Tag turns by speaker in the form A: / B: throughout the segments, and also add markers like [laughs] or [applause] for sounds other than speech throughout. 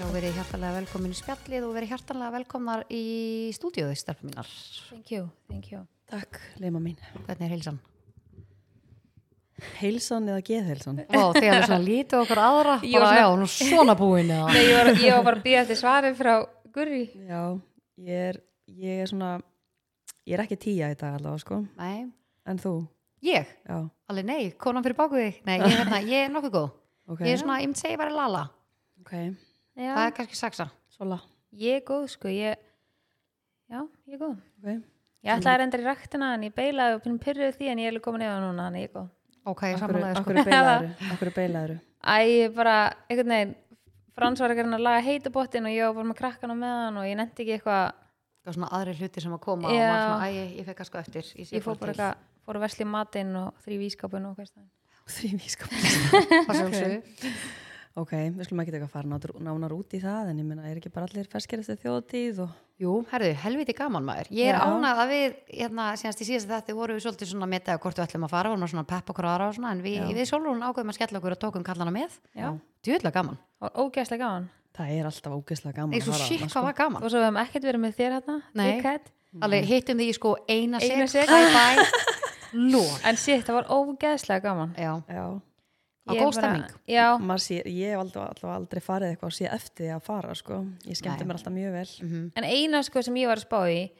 A: og verið hjartalega velkomin í spjallið og verið hjartalega velkomnar í stúdíóðu stelpum mínar.
B: Thank you, thank you.
C: Takk, leima mín.
A: Hvernig er heilsan?
C: Heilsan eða geðheilsan?
A: Ó, þegar við svona lítið okkur aðra,
B: Ég var
A: bara
B: svona-
A: já, hún er svona búin eða.
B: Nei, ég var, ég var bara að býja eftir svari frá Gurri.
C: Já, ég er, ég er svona, ég er ekki tíja í dag allavega, sko.
A: Nei,
C: En þú?
A: ég,
C: Já,
A: alveg nei, konan fyrir baku þig. Nei, ég, hérna, ég er nokkuð góð.
C: ok.
A: Ég er svona, ég myndi segja bara lala.
C: Ok,
A: Það
B: Já,
A: er kannski saksa.
C: sola.
B: ég er góð, sko, ég, já, ég er góð.
C: Ok,
B: Ég ætlaði að renda í ræktina, en ég beilaði og pinnum pyrruð því, en ég er alveg komin yfir núna, en ég er góð.
A: Ok, samanlega sko.
C: akkur er beilaður,
A: [laughs]
C: akkur er beilaður.
B: Æ, ég er bara, einhvern veginn, Frans var ekki að laga heitabottin og ég var bara með krakkan á meðan og ég nefndi ekki eitthvað,
A: Það er svona aðri hluti sem að koma og
B: Já.
A: maður svona, æ, ég, ég fekk að sko eftir. sé
B: ég fór
A: bara
B: bara
A: til.
B: eitthvað, fór að vesli matinn og þrý vískapin og hvað stæðin.
C: Þrýn í sko.
A: [laughs] Það sé sjálfsögðu.
C: Ok, við skulum ekki taka að fara nátur- nánar út í það, en ég meina, er ekki bara allir ferskir eftir þjóðtíð og...
A: Jú, herðu, helviti gaman maður. Ég er
C: Já.
A: ánað að við, hérna, síðanst í síðast þetta vorum við svolítið svona að meta hvort við ætlum að fara, vorum að svona peppa okkur aðra og svona, en við, við sólurinn ákveðum að skella okkur og tókum kallana með.
B: Já.
A: Djúðlega gaman.
B: Og ógæslega gaman.
C: Það er alltaf ógeðslega gaman
A: Eða svo
C: fara sko.
A: sík
C: þarna,
A: hvað var
B: Og
A: gaman.
B: svo við hefum ekkert verið með þér hérna,
A: Nei.
B: þig, Kat.
A: Alveg hittum því sko eina
B: Eina
A: sig,
B: sek.
A: bæ [laughs] bæ, lór.
B: En sitt, það var ógæslega gaman.
A: Já,
C: Já,
A: á
B: Ég
A: góð Mm.
B: bara-
A: stemming.
B: Já,
C: maður sé, ég hef aldrei, aldrei, aldrei farið eitthvað og sé eftir því að fara, sko. Ég skemmti
A: Nei.
C: mér alltaf mjög vel.
B: en eina sko sem ég var að spá í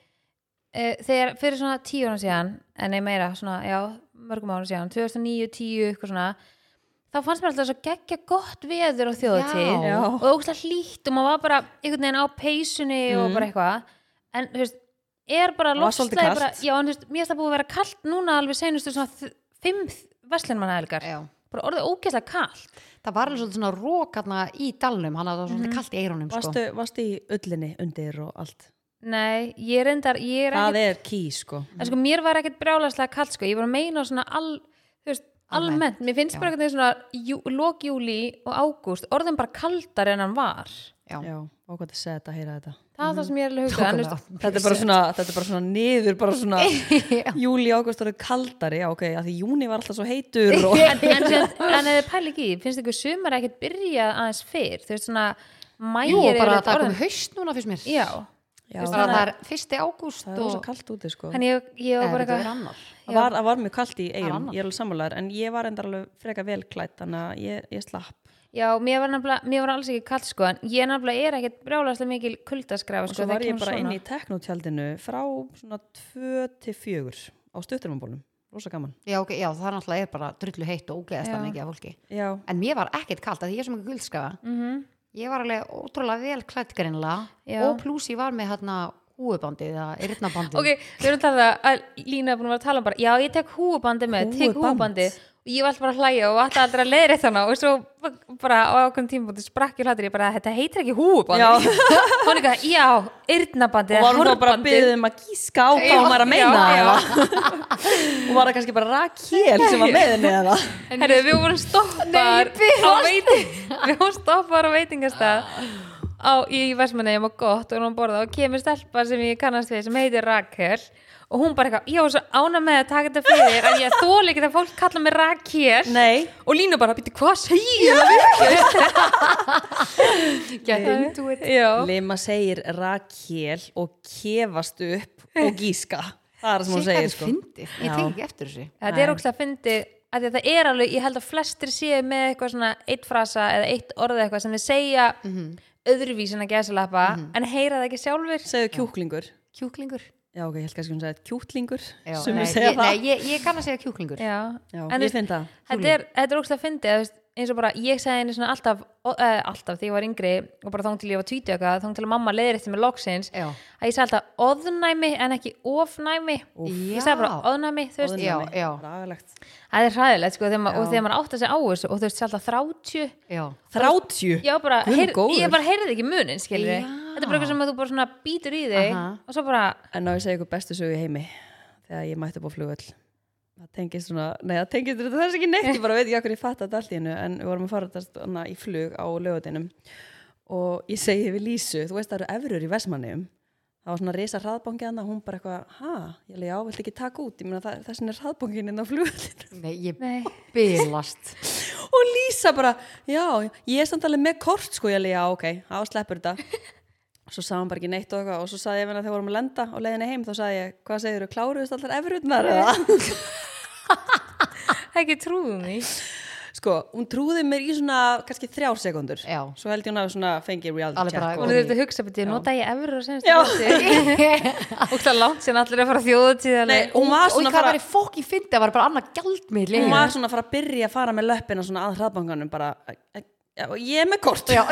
B: uh, þegar fyrir svona tíu árum síðan en nei meira, svona, já, mörgum árum síðan 2009, 10, eitthvað svona þá fannst mér alltaf svo geggja gott veður á þjóðutíð
A: Já.
B: og ógstlega hlýtt og maður var bara einhvern veginn á peysunni og bara eitthvað en þú veist, er bara
C: Mhm. Það var svolítið
B: loftslagið bara,
C: kalt.
B: já, en þú veist, mér er það búið að vera kalt núna alveg seinustu svona þ- fimm veslinmannahelgar,
A: Já.
B: bara orðið ógeðslega kalt
A: Það var alveg svolítið svona rókarna í dalnum, hann að það var svolítið kalt í eirunum sko.
C: Varstu, varstu í öllinni undir og allt?
B: nei, ég reyndar, ég er
C: Það er ký, sko.
B: en sko mér var ekkert brjálæslega kallt sko, ég var að meina svona al, þú veist,
A: Almennt,
B: almennt, mér finnst bara ekkert svona jú, lokjúli og ágúst, orðin bara kaldar en hann var það
A: Já.
C: Já, og hvað þetta segja þetta, heyra þetta.
B: var það sem ég er alveg hugsa en, þú veist,
A: Tókulega.
C: Þetta er bara svona, þetta er bara svona niður, bara svona júli, águst eru kaldari, já, ok, að því júni var alltaf svo heitur
B: [laughs]
C: og...
B: en, en, en, en eða pæli ekki, í, finnst ykkur sumar ekkert byrjað aðeins fyrr, þú veist svona mægir
A: Jú, bara
B: yfirleitt
A: að það er komið haust núna fyrst mér.
B: já,
C: Já,
A: Bara
C: það
A: það er fyrsti ágúst
C: er rosa
A: og...
C: kalt úti, sko.
B: hann ég, ég var
A: Nei,
B: bara
A: þetta er
B: eitthvað
A: annar.
C: Það var, það var mjög kalt í eigum,
A: annað.
C: ég er alveg sammálaður, en ég var endar alveg freka velklætt, þannig að ég, ég slapp.
B: já, mér var nefnilega, mér var alls ekki kallt sko, en ég nefnilega er ekkert brjálæslega mikil kuldaskrafa
C: Og
B: sko,
C: svo var ég bara inn
B: svona,
C: í teknotjaldinu frá svona 2 til 4 á stutturumabólum, rosa gaman.
A: Já, ok, já, það er náttúrulega er bara drullu heitt og ógleðast það mikið af fólki.
C: Já,
A: En mér var ekkert kalt, af því ég er sem ekki guldskafa.
B: Mhm.
A: Ég var alveg ótrúlega vel klætt
B: Já.
A: greinilega og pluss ég var með hérna húubandið eða yrnabandið.
B: ok, við erum talað að Lína er búin að vera að tala um bara, já ég tek húubandi með, tek
C: Húfuband?
B: húubandi og ég var alltaf bara að hlæja og alltaf aldrei að leiðri þannig og svo bara á okkur tímabúti sprakk ég hlættir, ég bara, þetta heitir ekki húubandi [laughs]
C: Já.
B: hún er ekki, já, yrnabandi
C: og varum þá bara að byggja um að gíska á hvað
B: Já,
C: hún var að meina
B: já, já.
C: eða? og var það kannski bara Rakel sem var með henni eða
B: Herri, við vorum stoppar á veiting [laughs] við vorum stoppar á veitingastað á, í Vestmannegjum og gott og hún borða og kemur stelpa sem ég kannast við sem heitir Rakel og hún bara eitthvað, já, svo ána með að taka þetta fyrir en ég þóli ekki þegar fólk kalla mig Rakel
C: nei,
B: og Lína bara, býtti, hvað segir ég það [laughs] virkið?
A: get into it.
B: Já,
C: Lima segir Rakel og kefast upp og gíska það er það sem hún
A: Sitt
C: segir
A: er
C: sko
A: fyndið, ég
C: Já.
A: tek ekki eftir þessu.
B: þetta er ógstlega fyndið að það er alveg, ég held að flestir séu með eitthvað svona eitt frasa eða eitt orð eitthvað sem við segja öðruvísi en að gesalappa, en heyra það ekki sjálfur
C: segðu kjúklingur
A: Kjúklingur.
C: já ok, ég held kannski hún segið kjúklingur
A: Já,
C: sem
A: nei,
C: hún segja
A: ég,
C: það
A: nei, ég, ég kann að segja kjúklingur.
B: Já,
C: já,
B: en þú
C: ég
B: veist,
C: finn það
B: þetta er, þetta er ógstlega fyndið að þú veist, eins og bara, ég segði henni svona alltaf ó, eh, alltaf þegar ég var yngri og bara þóng til ég var tvítu eitthvað, þóng til að mamma leiðir eftir með loksins
A: Já.
B: að ég sagði alltaf oðnæmi en ekki ofnæmi ég sagði bara
A: Já.
B: oðnæmi, þú veist
A: Já, já.
C: ragalegt
B: Það er hræðilegt sko þegar maður, og þegar maður átt að segja á þessu og þú veist alltaf 30
A: Já.
C: 30
B: Já, bara,
C: Guð minn
B: heyr,
C: góður.
B: ég bara heyrði ekki munin skilur
A: Já.
B: Þetta er bara eitthvað sem að þú bara svona býtur í þig
A: Aha.
B: og svo bara,
C: En ná ég segi ykkur bestu sögu í heimi þegar ég mætti upp á flugvöll það tengist svona, nei það tengist þetta það er ekki neitt, ég bara veit ekki okkur ég fatt að allt í hennu en við vorum að fara þetta hana, í flug á lögutinum og ég segi við Lísu, þú veist það eru efrur í Vestmannum það var svona risa hraðbangi hann hún bara eitthvað, ha, ég leiði á, vilt ekki taka hérna út ég meina það- þessin er hraðbangin inn á flugvöllinu
A: Nei, ég
B: nei
C: [laughs]
A: bylast.
C: og Lísa hissa bara, já, ég er samt alveg með kort sko, ég alveg, já, ok, þá sleppur þetta svo sagði hann bara ekki neitt og eitthvað og svo sagði ég við hann að þegar vorum að lenda á leiðinni heim þá sagði ég, hvað segir þú, kláruðust allar efruðnar eða?
B: ekki trúðum því
C: sko, hún trúði mér í svona kannski þrjár sekundur
A: Já.
C: svo held ég hún að svona fengi reality
A: Alveg bara,
C: check
B: hún
A: Góð
B: er
A: í-
B: þetta að hugsa betur, nota ég efur og senst
C: Já.
B: [laughs] og það langt sem allir er að fara þjóðutíðarlega
C: Nei, hún var
A: og
C: svona
A: hvað
C: fara
A: var ég fokkin fyndi að var bara annað gjaldmiðl í
C: hún
A: einu.
C: var svona að fara að byrja að fara með löppina svona að hraðbankanum bara e- e- já, og ég er með kort
A: [laughs] já,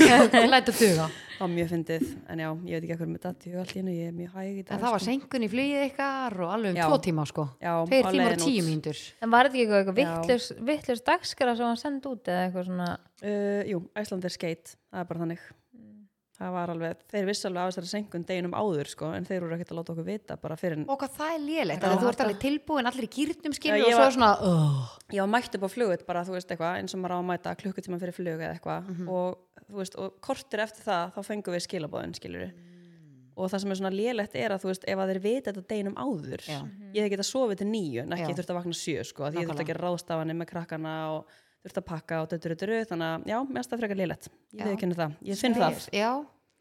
A: læta duga
C: það var mjög fyndið, en já, ég veit ekki hvernig með datt í hug allt í hennu, ég er mjög hæg í dag
A: en það var senkun í flugið ykkar og alveg um
C: Já.
A: tvo tíma sko
C: Já,
A: tveir
C: á
A: tímar
C: leiðin
A: og tíu
C: út.
A: mínútur
B: en var þetta ekki eitthvað-
C: Já.
B: eitthvað vittljus dagskara sem hann sendi út eða eitthvað svona
C: uh, jú, Æsland er skeitt, það er bara þannig
A: Mm.
C: það var alveg, þeir vissu alveg af þessari senkun deginum áður sko, en þeir voru ekkert að láta okkur vita bara fyrir en
A: og hvað það er lélegt
C: Já,
A: að þú
C: það-
A: ert alveg tilbúin allir í gýrnum skilur
C: Já,
A: og
C: ég
A: svo
C: var-
A: svona oh.
C: ég var mætt upp á flugut bara, þú veist, eitthvað eins og maður á að mæta klukkutíma fyrir flug eða eitthvað
A: Mhm.
C: og, þú veist, og kortir eftir það þá fengum við skilabóðin, skilur
A: Mm.
C: og það sem er svona lélegt er að, þú veist, ef að þeir vita þetta deginum áður
A: Já.
C: ég hef getað sofið til nýju, en ekki
A: Já.
C: ég þurft að vakna sjö sko, að ég þurft að
A: Nákvæmlega.
C: gera ráðstafanir með krakkana og þurft að pakka og döttur döttur þannig að, já, mér finnst það frekar lélegt ég
A: Já.
C: veit ekki það, ég finn það
A: já,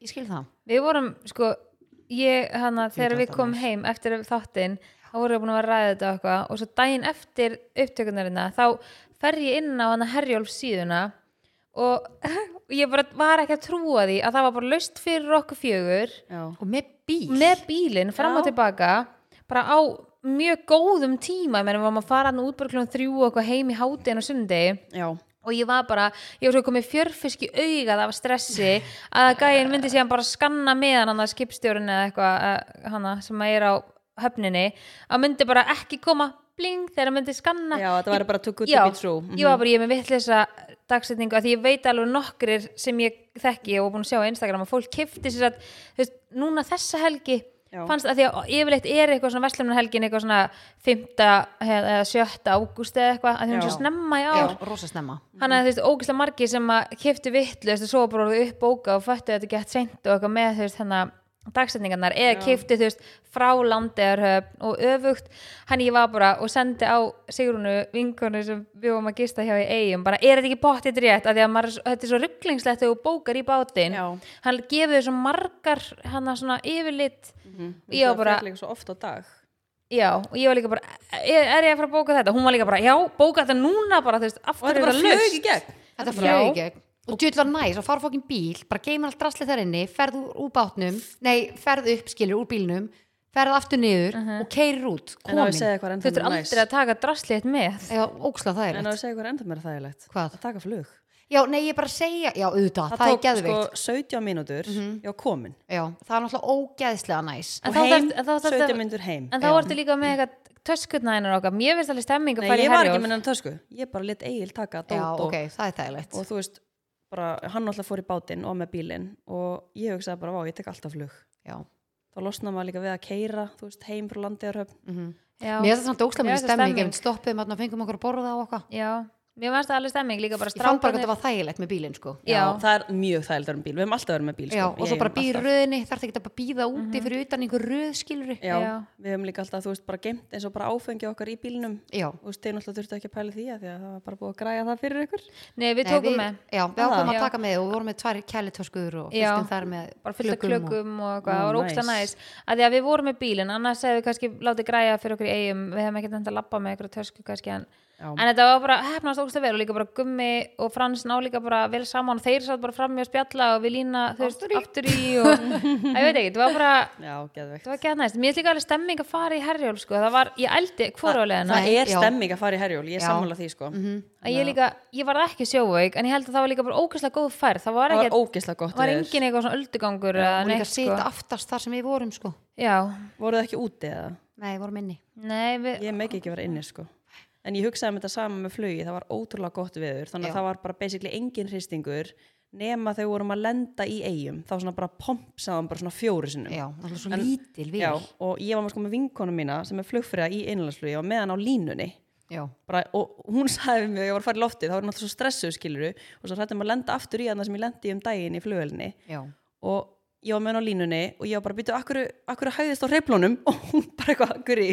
A: ég skil það
B: við vorum sko ég hana þegar
A: Fínt
B: við
A: alltaf
B: komum heim eftir þáttinn þá vorum við búin að vera að ræða þetta og eitthvað og svo daginn eftir upptökunarina þá fer ég inn á hana Herjólf síðuna og [laughs] ég bara var ekki að trúa því að það var bara laust fyrir okkur fjögur
C: já,
A: og með bíl
B: með bílinn fram og
C: Já.
B: tilbaka bara á mjög góðum tíma menn við varum að fara hann út bara kljóðum þrjú og eitthvað heim í hátinn og sundi
C: já,
B: og ég var bara, ég var svo komið fjörfisk í augað af stressi að gæin myndi síðan bara skanna með hann að skipstjórun eða eitthvað eh, hana sem er á höfninni að myndi bara ekki koma bling þegar hann myndi skanna
C: já þetta væri bara too good
B: hérna. Já,
C: to be true Mhm.
B: ég var bara, ég er með vitleysa dagsetningu að því ég veit alveg nokkrir sem ég þekki og búin að sjá á Instagram að fólk kifti sér að, þú veist, núna þessa helgi
C: Já.
B: fannst að því að yfirleitt er eitthvað svona verslunahelgin eitthvað svona 5. eða 7. ágúst eða eitthvað að því hún er
C: Já.
B: svo snemma í
A: já,
B: ár
A: rosa snemma
B: hann að þú veist, ógislega margi sem að kifti vittlust og svo bara orðið upp bóka og fættu þetta gett seint og eitthvað með þú veist hann að dagsetningarnar eða kifti þú veist frá landeðarhöfn og öfugt hann ég var bara og sendi á Sigrunu vinkonu sem við vorum að gista hjá í eigum bara er þetta ekki bóttið rétt að því að maður, er svo- þetta er svo rugglingslegt þegar þú bókar í bátinn
C: Já.
B: hann gefur þessu margar hann að svona yfirlit og ég var
C: það
B: bara
C: fer líka svo oft á dag
B: já og ég var líka bara er, er ég að fara að bóka þetta hún var líka bara já bóka þetta núna bara þú veist af
C: og
B: hverju er
C: þetta bara
B: það
C: flög
B: laust?"
C: í gegn
A: þetta
B: Já.
A: flög ekki og djöld var næs að fara fokkin bíl bara geymir allt drasli þar inni ferð úr, úr bátnum nei, ferð upp skilur úr bílnum ferð aftur niður og keirir út
C: en á ég
A: komin,
C: segja eitthvað
B: Þú
C: ennþá
B: ert
C: meira næs?
B: aldrei að taka drastlið með
A: já, óksla það er
C: En að segja eitthvað enda meira þægilegt
A: Hvað?
C: Að taka flug
A: já, nei, ég bara segja, já, auðvitað, það, er geðveikt
C: sko 17 mínútur mm -hmm. Já, komin
A: já, það er náttúrulega ógeðslega næs
B: Mhm. En
C: Og
B: þá
C: heim,
B: þarft- en þá þarft að-
C: 17 mínútur heim
B: En þá ertu líka með eitthvað töskutnæðinur okkar Mér finnst alveg stemming að
C: Nei,
B: fara í
C: ég var ekki
B: herjól
C: með hennan tösku Ég bara lit eigil taka dót
A: já,
C: og,
A: ok, það er þægilegt
C: og þú veist bara, hann náttúrulega fór í bátinn og með bílinn og ég hugsaði bara, vá, ég tek alltaf flug
A: já
C: þá losnaði maður líka við að keira þú veist, heim frá landiðarhöfn
B: Já.
A: Mér finnst það samt ókslega
B: Mér
A: mikið
B: finnst það
A: stemming en stoppuðum að fengum okkur að borða á okkar
B: Já, mér finnst það alveg stemming líka bara
A: Ég fann bara að
B: strákarnir-
A: þetta var þægilegt með bílinn sko
B: Já.
C: það er mjög þægilegt að vera með bíl, við hefum alltaf verið með bíl sko.
A: Já, og
C: Ég
A: svo bara
C: hef
A: býr
C: alltaf-
A: röðinni, þarf ekki að býða úti
B: Mhm.
A: fyrir utan einhver röðskilri
C: Já,
B: Já.
C: við hefum líka alltaf, þú veist, bara geimt eins og bara áfengi okkar í bílnum
A: Já,
C: og þeir náttúrulega þurftu ekki að pæla í því að því að það var bara búið að græja það fyrir ykkur
B: Nei, við
A: Nei,
B: tókum með
A: Já, við ákvæmum
B: Já.
A: að taka með og vorum með tvær kælitöskuður og
B: Já.
A: fyrstum þar með
B: bara fullt af
A: klukkum og-
B: klökum og eitthvað, það
C: Ó,
B: var ógsta
C: nice.
B: næs að því að við vorum með bílinn, annars hefði við kannski látið græja fyrir okkur í eigum, við hefum ekkert enda að labba með eitthvað tösku kannski, en,
C: Já.
B: en þetta var bara hefnast ógsta vel og líka bara gummi og frans ná líka bara vel saman og þeir satt bara fram með að spjalla og við lína, þú veist, aftur í og, að ég veit ekki, þetta var bara
C: Já, geðveikt
B: það var gett næst, mér er líka alveg stemming að fara í herjól sko, það var, ég eldi hvorulegina
C: það er
A: já.
C: stemming að fara í herjól, ég
A: Já. Mhm.
C: sammála því sko
B: að ég líka, ég var ekki sjóveik en ég held að það var líka bara ógæslega góð færð það var
C: það
B: ekki,
C: var ógeðslega gott
B: það var
C: veður.
B: engin eitthvað svona öldugangur
A: og
B: eða
A: líka
B: neitt
A: sita
B: sko
A: aftast þar sem við vorum sko
B: já,
C: voruð þið ekki úti eða?
A: Nei, við vorum inni
B: nei, við,
C: ég megi ekki vera inni sko en ég hugsaði um þetta sama með flugi, það var ótrúlega gott veður þannig
A: Já.
C: að það var bara basically engin hristingur nema þegar við vorum að lenda í eigum þá svona bara pompsaðum bara svona fjóri sinnum
A: Já, það var svo
C: En-
A: lítil við
C: Já, og ég var með sko með vinkonu mína sem er flugfriða í innlandsflugi og meðan á línunni
A: Já,
C: bara, og hún sagði við mig að ég var að fara í loftið þá var hún alltaf svo stressuð skiluru og svo hrættum að lenda aftur í hann sem ég lendi um daginn í flugvelni
A: já
C: og ég var með hann á línunni og ég var bara að byrja akkur, akkur hæðist á hreiplónum [laughs] og hún bara eitthvað akkur í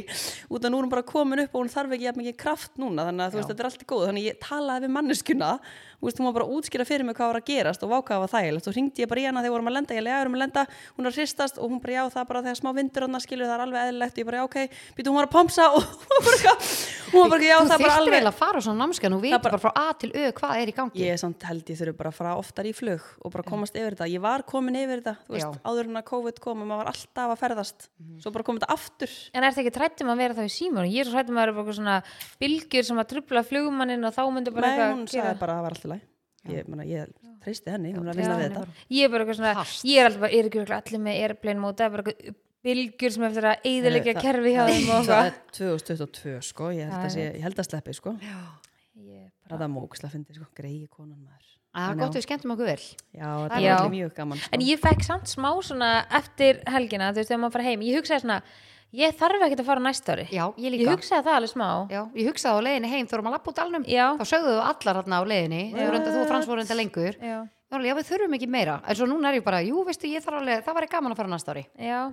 C: út af nú er hún bara komin upp og hún þarf ekki jafn mikið kraft núna þannig að þú veist þetta er allt í góð þannig að ég talaði við manneskuna þú veist, hún var bara að útskýra fyrir mig hvað var að gerast og vá hvað var þægilegt og hringdi ég bara í hana þegar vorum að lenda, ég lega erum að lenda hún er að hristast og hún bara já það er bara þegar smá vindur hann skilur það er alveg eðlilegt, ég bara já ok býtu hún var að pomsa og [laughs] hún var bara eitthvað- hún var bara eitthvað, já
A: Þú
C: það er
A: þyrftir
C: bara alveg
A: eiginlega að fara á svona námskeið og vita bara, frá A til Ö hvað er í gangi.
C: Ég er samt held ég þurfi bara að fara oftar í flug og bara komast yfir þetta. Ég var komin yfir þetta, þú veist,
A: Já.
C: áður en að COVID kom og maður var alltaf að ferðast.
B: Mhm.
C: Svo bara komið þetta aftur.
B: En er það ekki trættum að vera þá í símónu? Ég er svo trættum að vera bara eitthvað svona bylgjur sem að trubla flugmannin og þá myndi bara
C: Nei,
B: eitthvað
C: hún sagði bara að það var alltaf læg. Ég, mena, ég treysti henni, hún er að
B: Já,
C: vinna við
B: hún
C: þetta.
B: Ég er bara eitthvað svona,
A: Fast.
B: ég er alltaf bara, er ekki örugglega allir með airplane móta, það er bara eitthvað bylgjur sem eftir að eyðilegja
C: Það-
B: kerfi hjá þeim og
C: Það
B: eitthvað.
C: er 2022 sko, ég held að, sé, ég held að sleppi sko.
B: Ég bara-
C: Það er móksla fyndi sko, greiði konan maður.
A: Það er gott við skemmtum okkur vel.
C: Já, þetta
B: Já.
C: var allir mjög gaman sko.
B: En ég fekk samt smá svona eftir helgina, þú veist, þegar maður fara heim, ég hugsaði svona, ég þarf ekkert að fara á næsta ári.
A: Já, ég
B: Ég
A: líka.
B: hugsaði það alveg smá.
A: Já, ég hugsaði á leiðinni heim, þú erum að lappa út alnum.
B: Já.
A: Þá sögðu þú allar hérna á leiðinni, þú, reynda, þú og Frans voru reynda lengur.
B: Já.
A: Þá var alveg, já, við þurfum ekki meira. En svo núna er ég bara, jú, veistu, ég þarf alveg, það var gaman að fara næsta ári.
B: Já.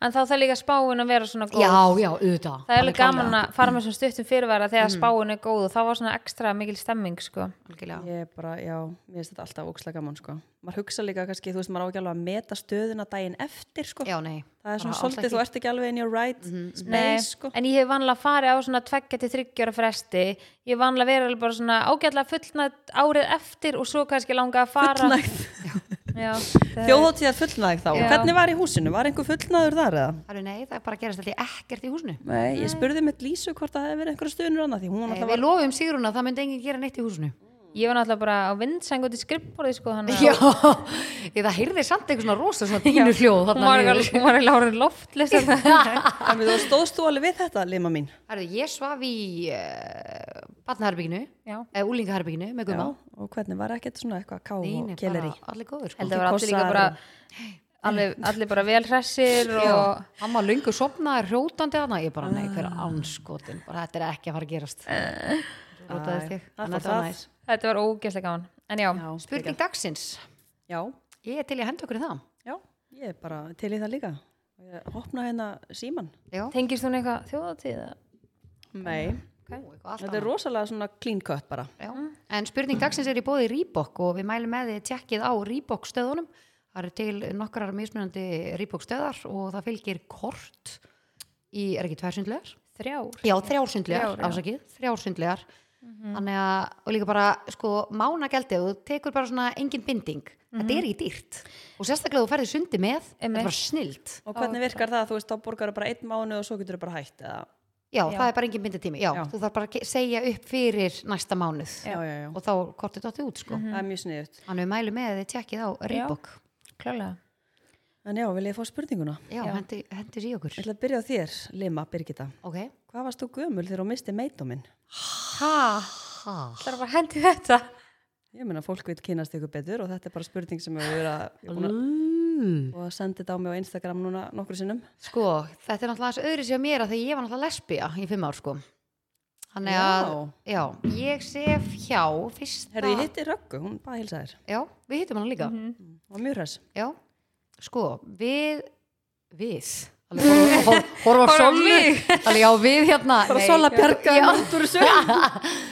B: En þá þarf líka spáin að vera svona góð.
A: Já, já, Mm. auðvitað.
B: Það er alveg gaman að fara með svona stuttum fyrirvara þegar spáin er góð og þá var svona ekstra mikil stemming, sko.
A: Algjörlega.
C: Ég er bara, já, mér finnst þetta alltaf óksla gaman sko. Maður hugsa líka kannski, þú veist, maður á ekki alveg að meta stöðuna daginn eftir sko.
A: Já, nei.
C: Það er svona
A: Bara alls
C: svolítið,
A: ekki.
C: þú ert ekki alveg in your right
B: Nei,
C: space, sko.
B: Eh, en ég hef vanlega farið á svona tveggja til þryggjara fresti ég hef vanlega verið alveg bara svona ágætlega fullnætt árið eftir og svo kannski langa að fara
C: Fullnægð.
B: Já, það er-
C: Þjóðhóttíðar fullnægð þá.
B: Já.
C: Hvernig var í húsinu? Var einhver fullnæður þar eða?
A: Það er nei, það er bara að gerast allir ekkert í húsinu.
C: Nei, ég spurði mitt Lísu hvort það hefði verið einhverja stöðunur annað því hún
A: Nei, við
C: alltaf var...
A: lofum Sigrun að það myndi enginn gera neitt í húsinu.
B: ég var náttúrulega bara á vindsæng út í skrippborði sko, þannig að-
A: Já, [laughs] ég það heyrði samt eitthvað svona rosa svona dínu hljóð
B: hún var
A: niður.
B: eitthvað- hún var eiginlega orðin loftlist [laughs] þarna.
C: En við- þú stóðst þú alveg við þetta, Lima mín?
A: Herðu, ég svaf í uh, batnaherbygginu,
B: Já.
A: eða úlingaherbygginu með Guma.
C: Og hvernig var ekkert svona eitthvað ká og
A: Neini,
C: kelleri?
A: bara allir góður.
B: held
A: Sko.
B: að var allir líka bara allir, allir bara vel hressir
C: Sko,
B: og
A: Hann var löngu sopnaði hrjótandi hana, ég bara, nei, hver anskotin, bara þetta er ekki að fara að gerast. Rótaðist ég,
C: Eh. það
A: en
C: fór
A: þetta var
C: það.
A: næs.
B: þetta var ógeðslega gaman en já,
C: Já,
A: Spurning dagsins,
C: Já,
A: ég er til í að henda okkur í það.
C: já, ég er bara til í það líka. Ég Opna hérna síman.
A: Já,
B: tengist hún eitthvað þjóðatíða?
C: Nei.
A: Ó, eitthvað allt
C: Þetta er rosalega svona clean cut bara.
A: Já. En spurning dagsins er í bóði Reebok og við mælum með því tjekkið á Reebok stöðunum. Það eru til nokkrar mismunandi Reebok stöðar og það fylgir kort í, er ekki tværsundlegar?
B: þrjár
A: Já, þrjársundlegar,
B: Þrjár, já.
A: afsakið, þrjársundlegar. Þannig að, og líka bara, sko, mánagjaldið, þú tekur bara svona engin binding. Þetta er ekki dýrt. Og sérstaklega þú ferði sundi með, þetta
B: Einmitt.
A: er bara snilt.
C: Og hvernig virkar það? Þú veist, þá borgar bara einn mánu og svo getur bara hætt eða...
A: Já,
B: Já.
A: það er bara engin binditími. Já,
C: Já.
A: þú þarf bara að ke- segja upp fyrir næsta mánuð.
C: Já, Mhm. já, já.
A: Og þá kortið dottið út, sko.
C: Það er mjög sniðut.
A: Þannig við mælum með því tjekkið á Reebok.
B: klálega
C: En já, vil ég fá spurninguna?
A: Já, hendi, hendur í okkur.
C: Ég ætla að byrja á þér, Lima Birgitta.
A: Ok.
C: Hvað varst þú gömul þegar þú misti meitóminn?
B: hæ,
A: Ha.
B: það er bara hendi þetta
C: Ég meina, fólk vil kynast ykkur betur og þetta er bara spurning sem við erum að, ég er búin að og að senda þetta á mig á Instagram núna nokkru sinnum.
A: Sko, þetta er náttúrulega aðeins öðru sér mér að því ég var náttúrulega lesbía í fimm ár, sko. Þannig að, já, ég sef hjá fyrsta...
C: Herði, ég hitti Röggu, hún bara hilsa þér.
A: Já, við hittum hana
B: Mhm.
A: líka.
C: Hún var mjög hress.
A: Já. Sko, við... Við... Alveg, horfa- horfa- Horfa á
B: Horfa á
A: sólu.
B: mig.
A: Alveg, já, við hérna...
C: Bara
A: nei.
C: Sola Bjarga
A: Já.
C: úr þessu.
A: [laughs]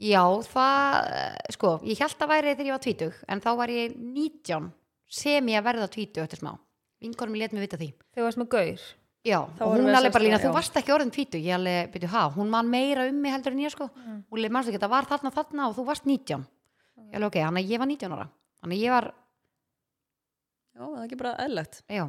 A: Já, það, eh, sko, ég held að væri þegar ég var tvítug, en þá var ég 19 sem ég að verða tvítug eftir smá. Vinkonum ég let mig vita því.
B: þau varst með gaur
A: Já,
C: Þá
A: og hún
C: erum við
A: alveg bara
C: sérstæð,
A: lína, þú
C: já.
A: varst ekki orðin tvítu, ég alveg, byrju, ha, hún man meira um mig heldur en ég, sko, hún leið mannstu ekki, það var þarna þarna og þú varst 19. Ég alveg, ok, hann að ég var 19 ára, hann að ég var,
C: Já, það er ekki bara eðlegt.
A: já,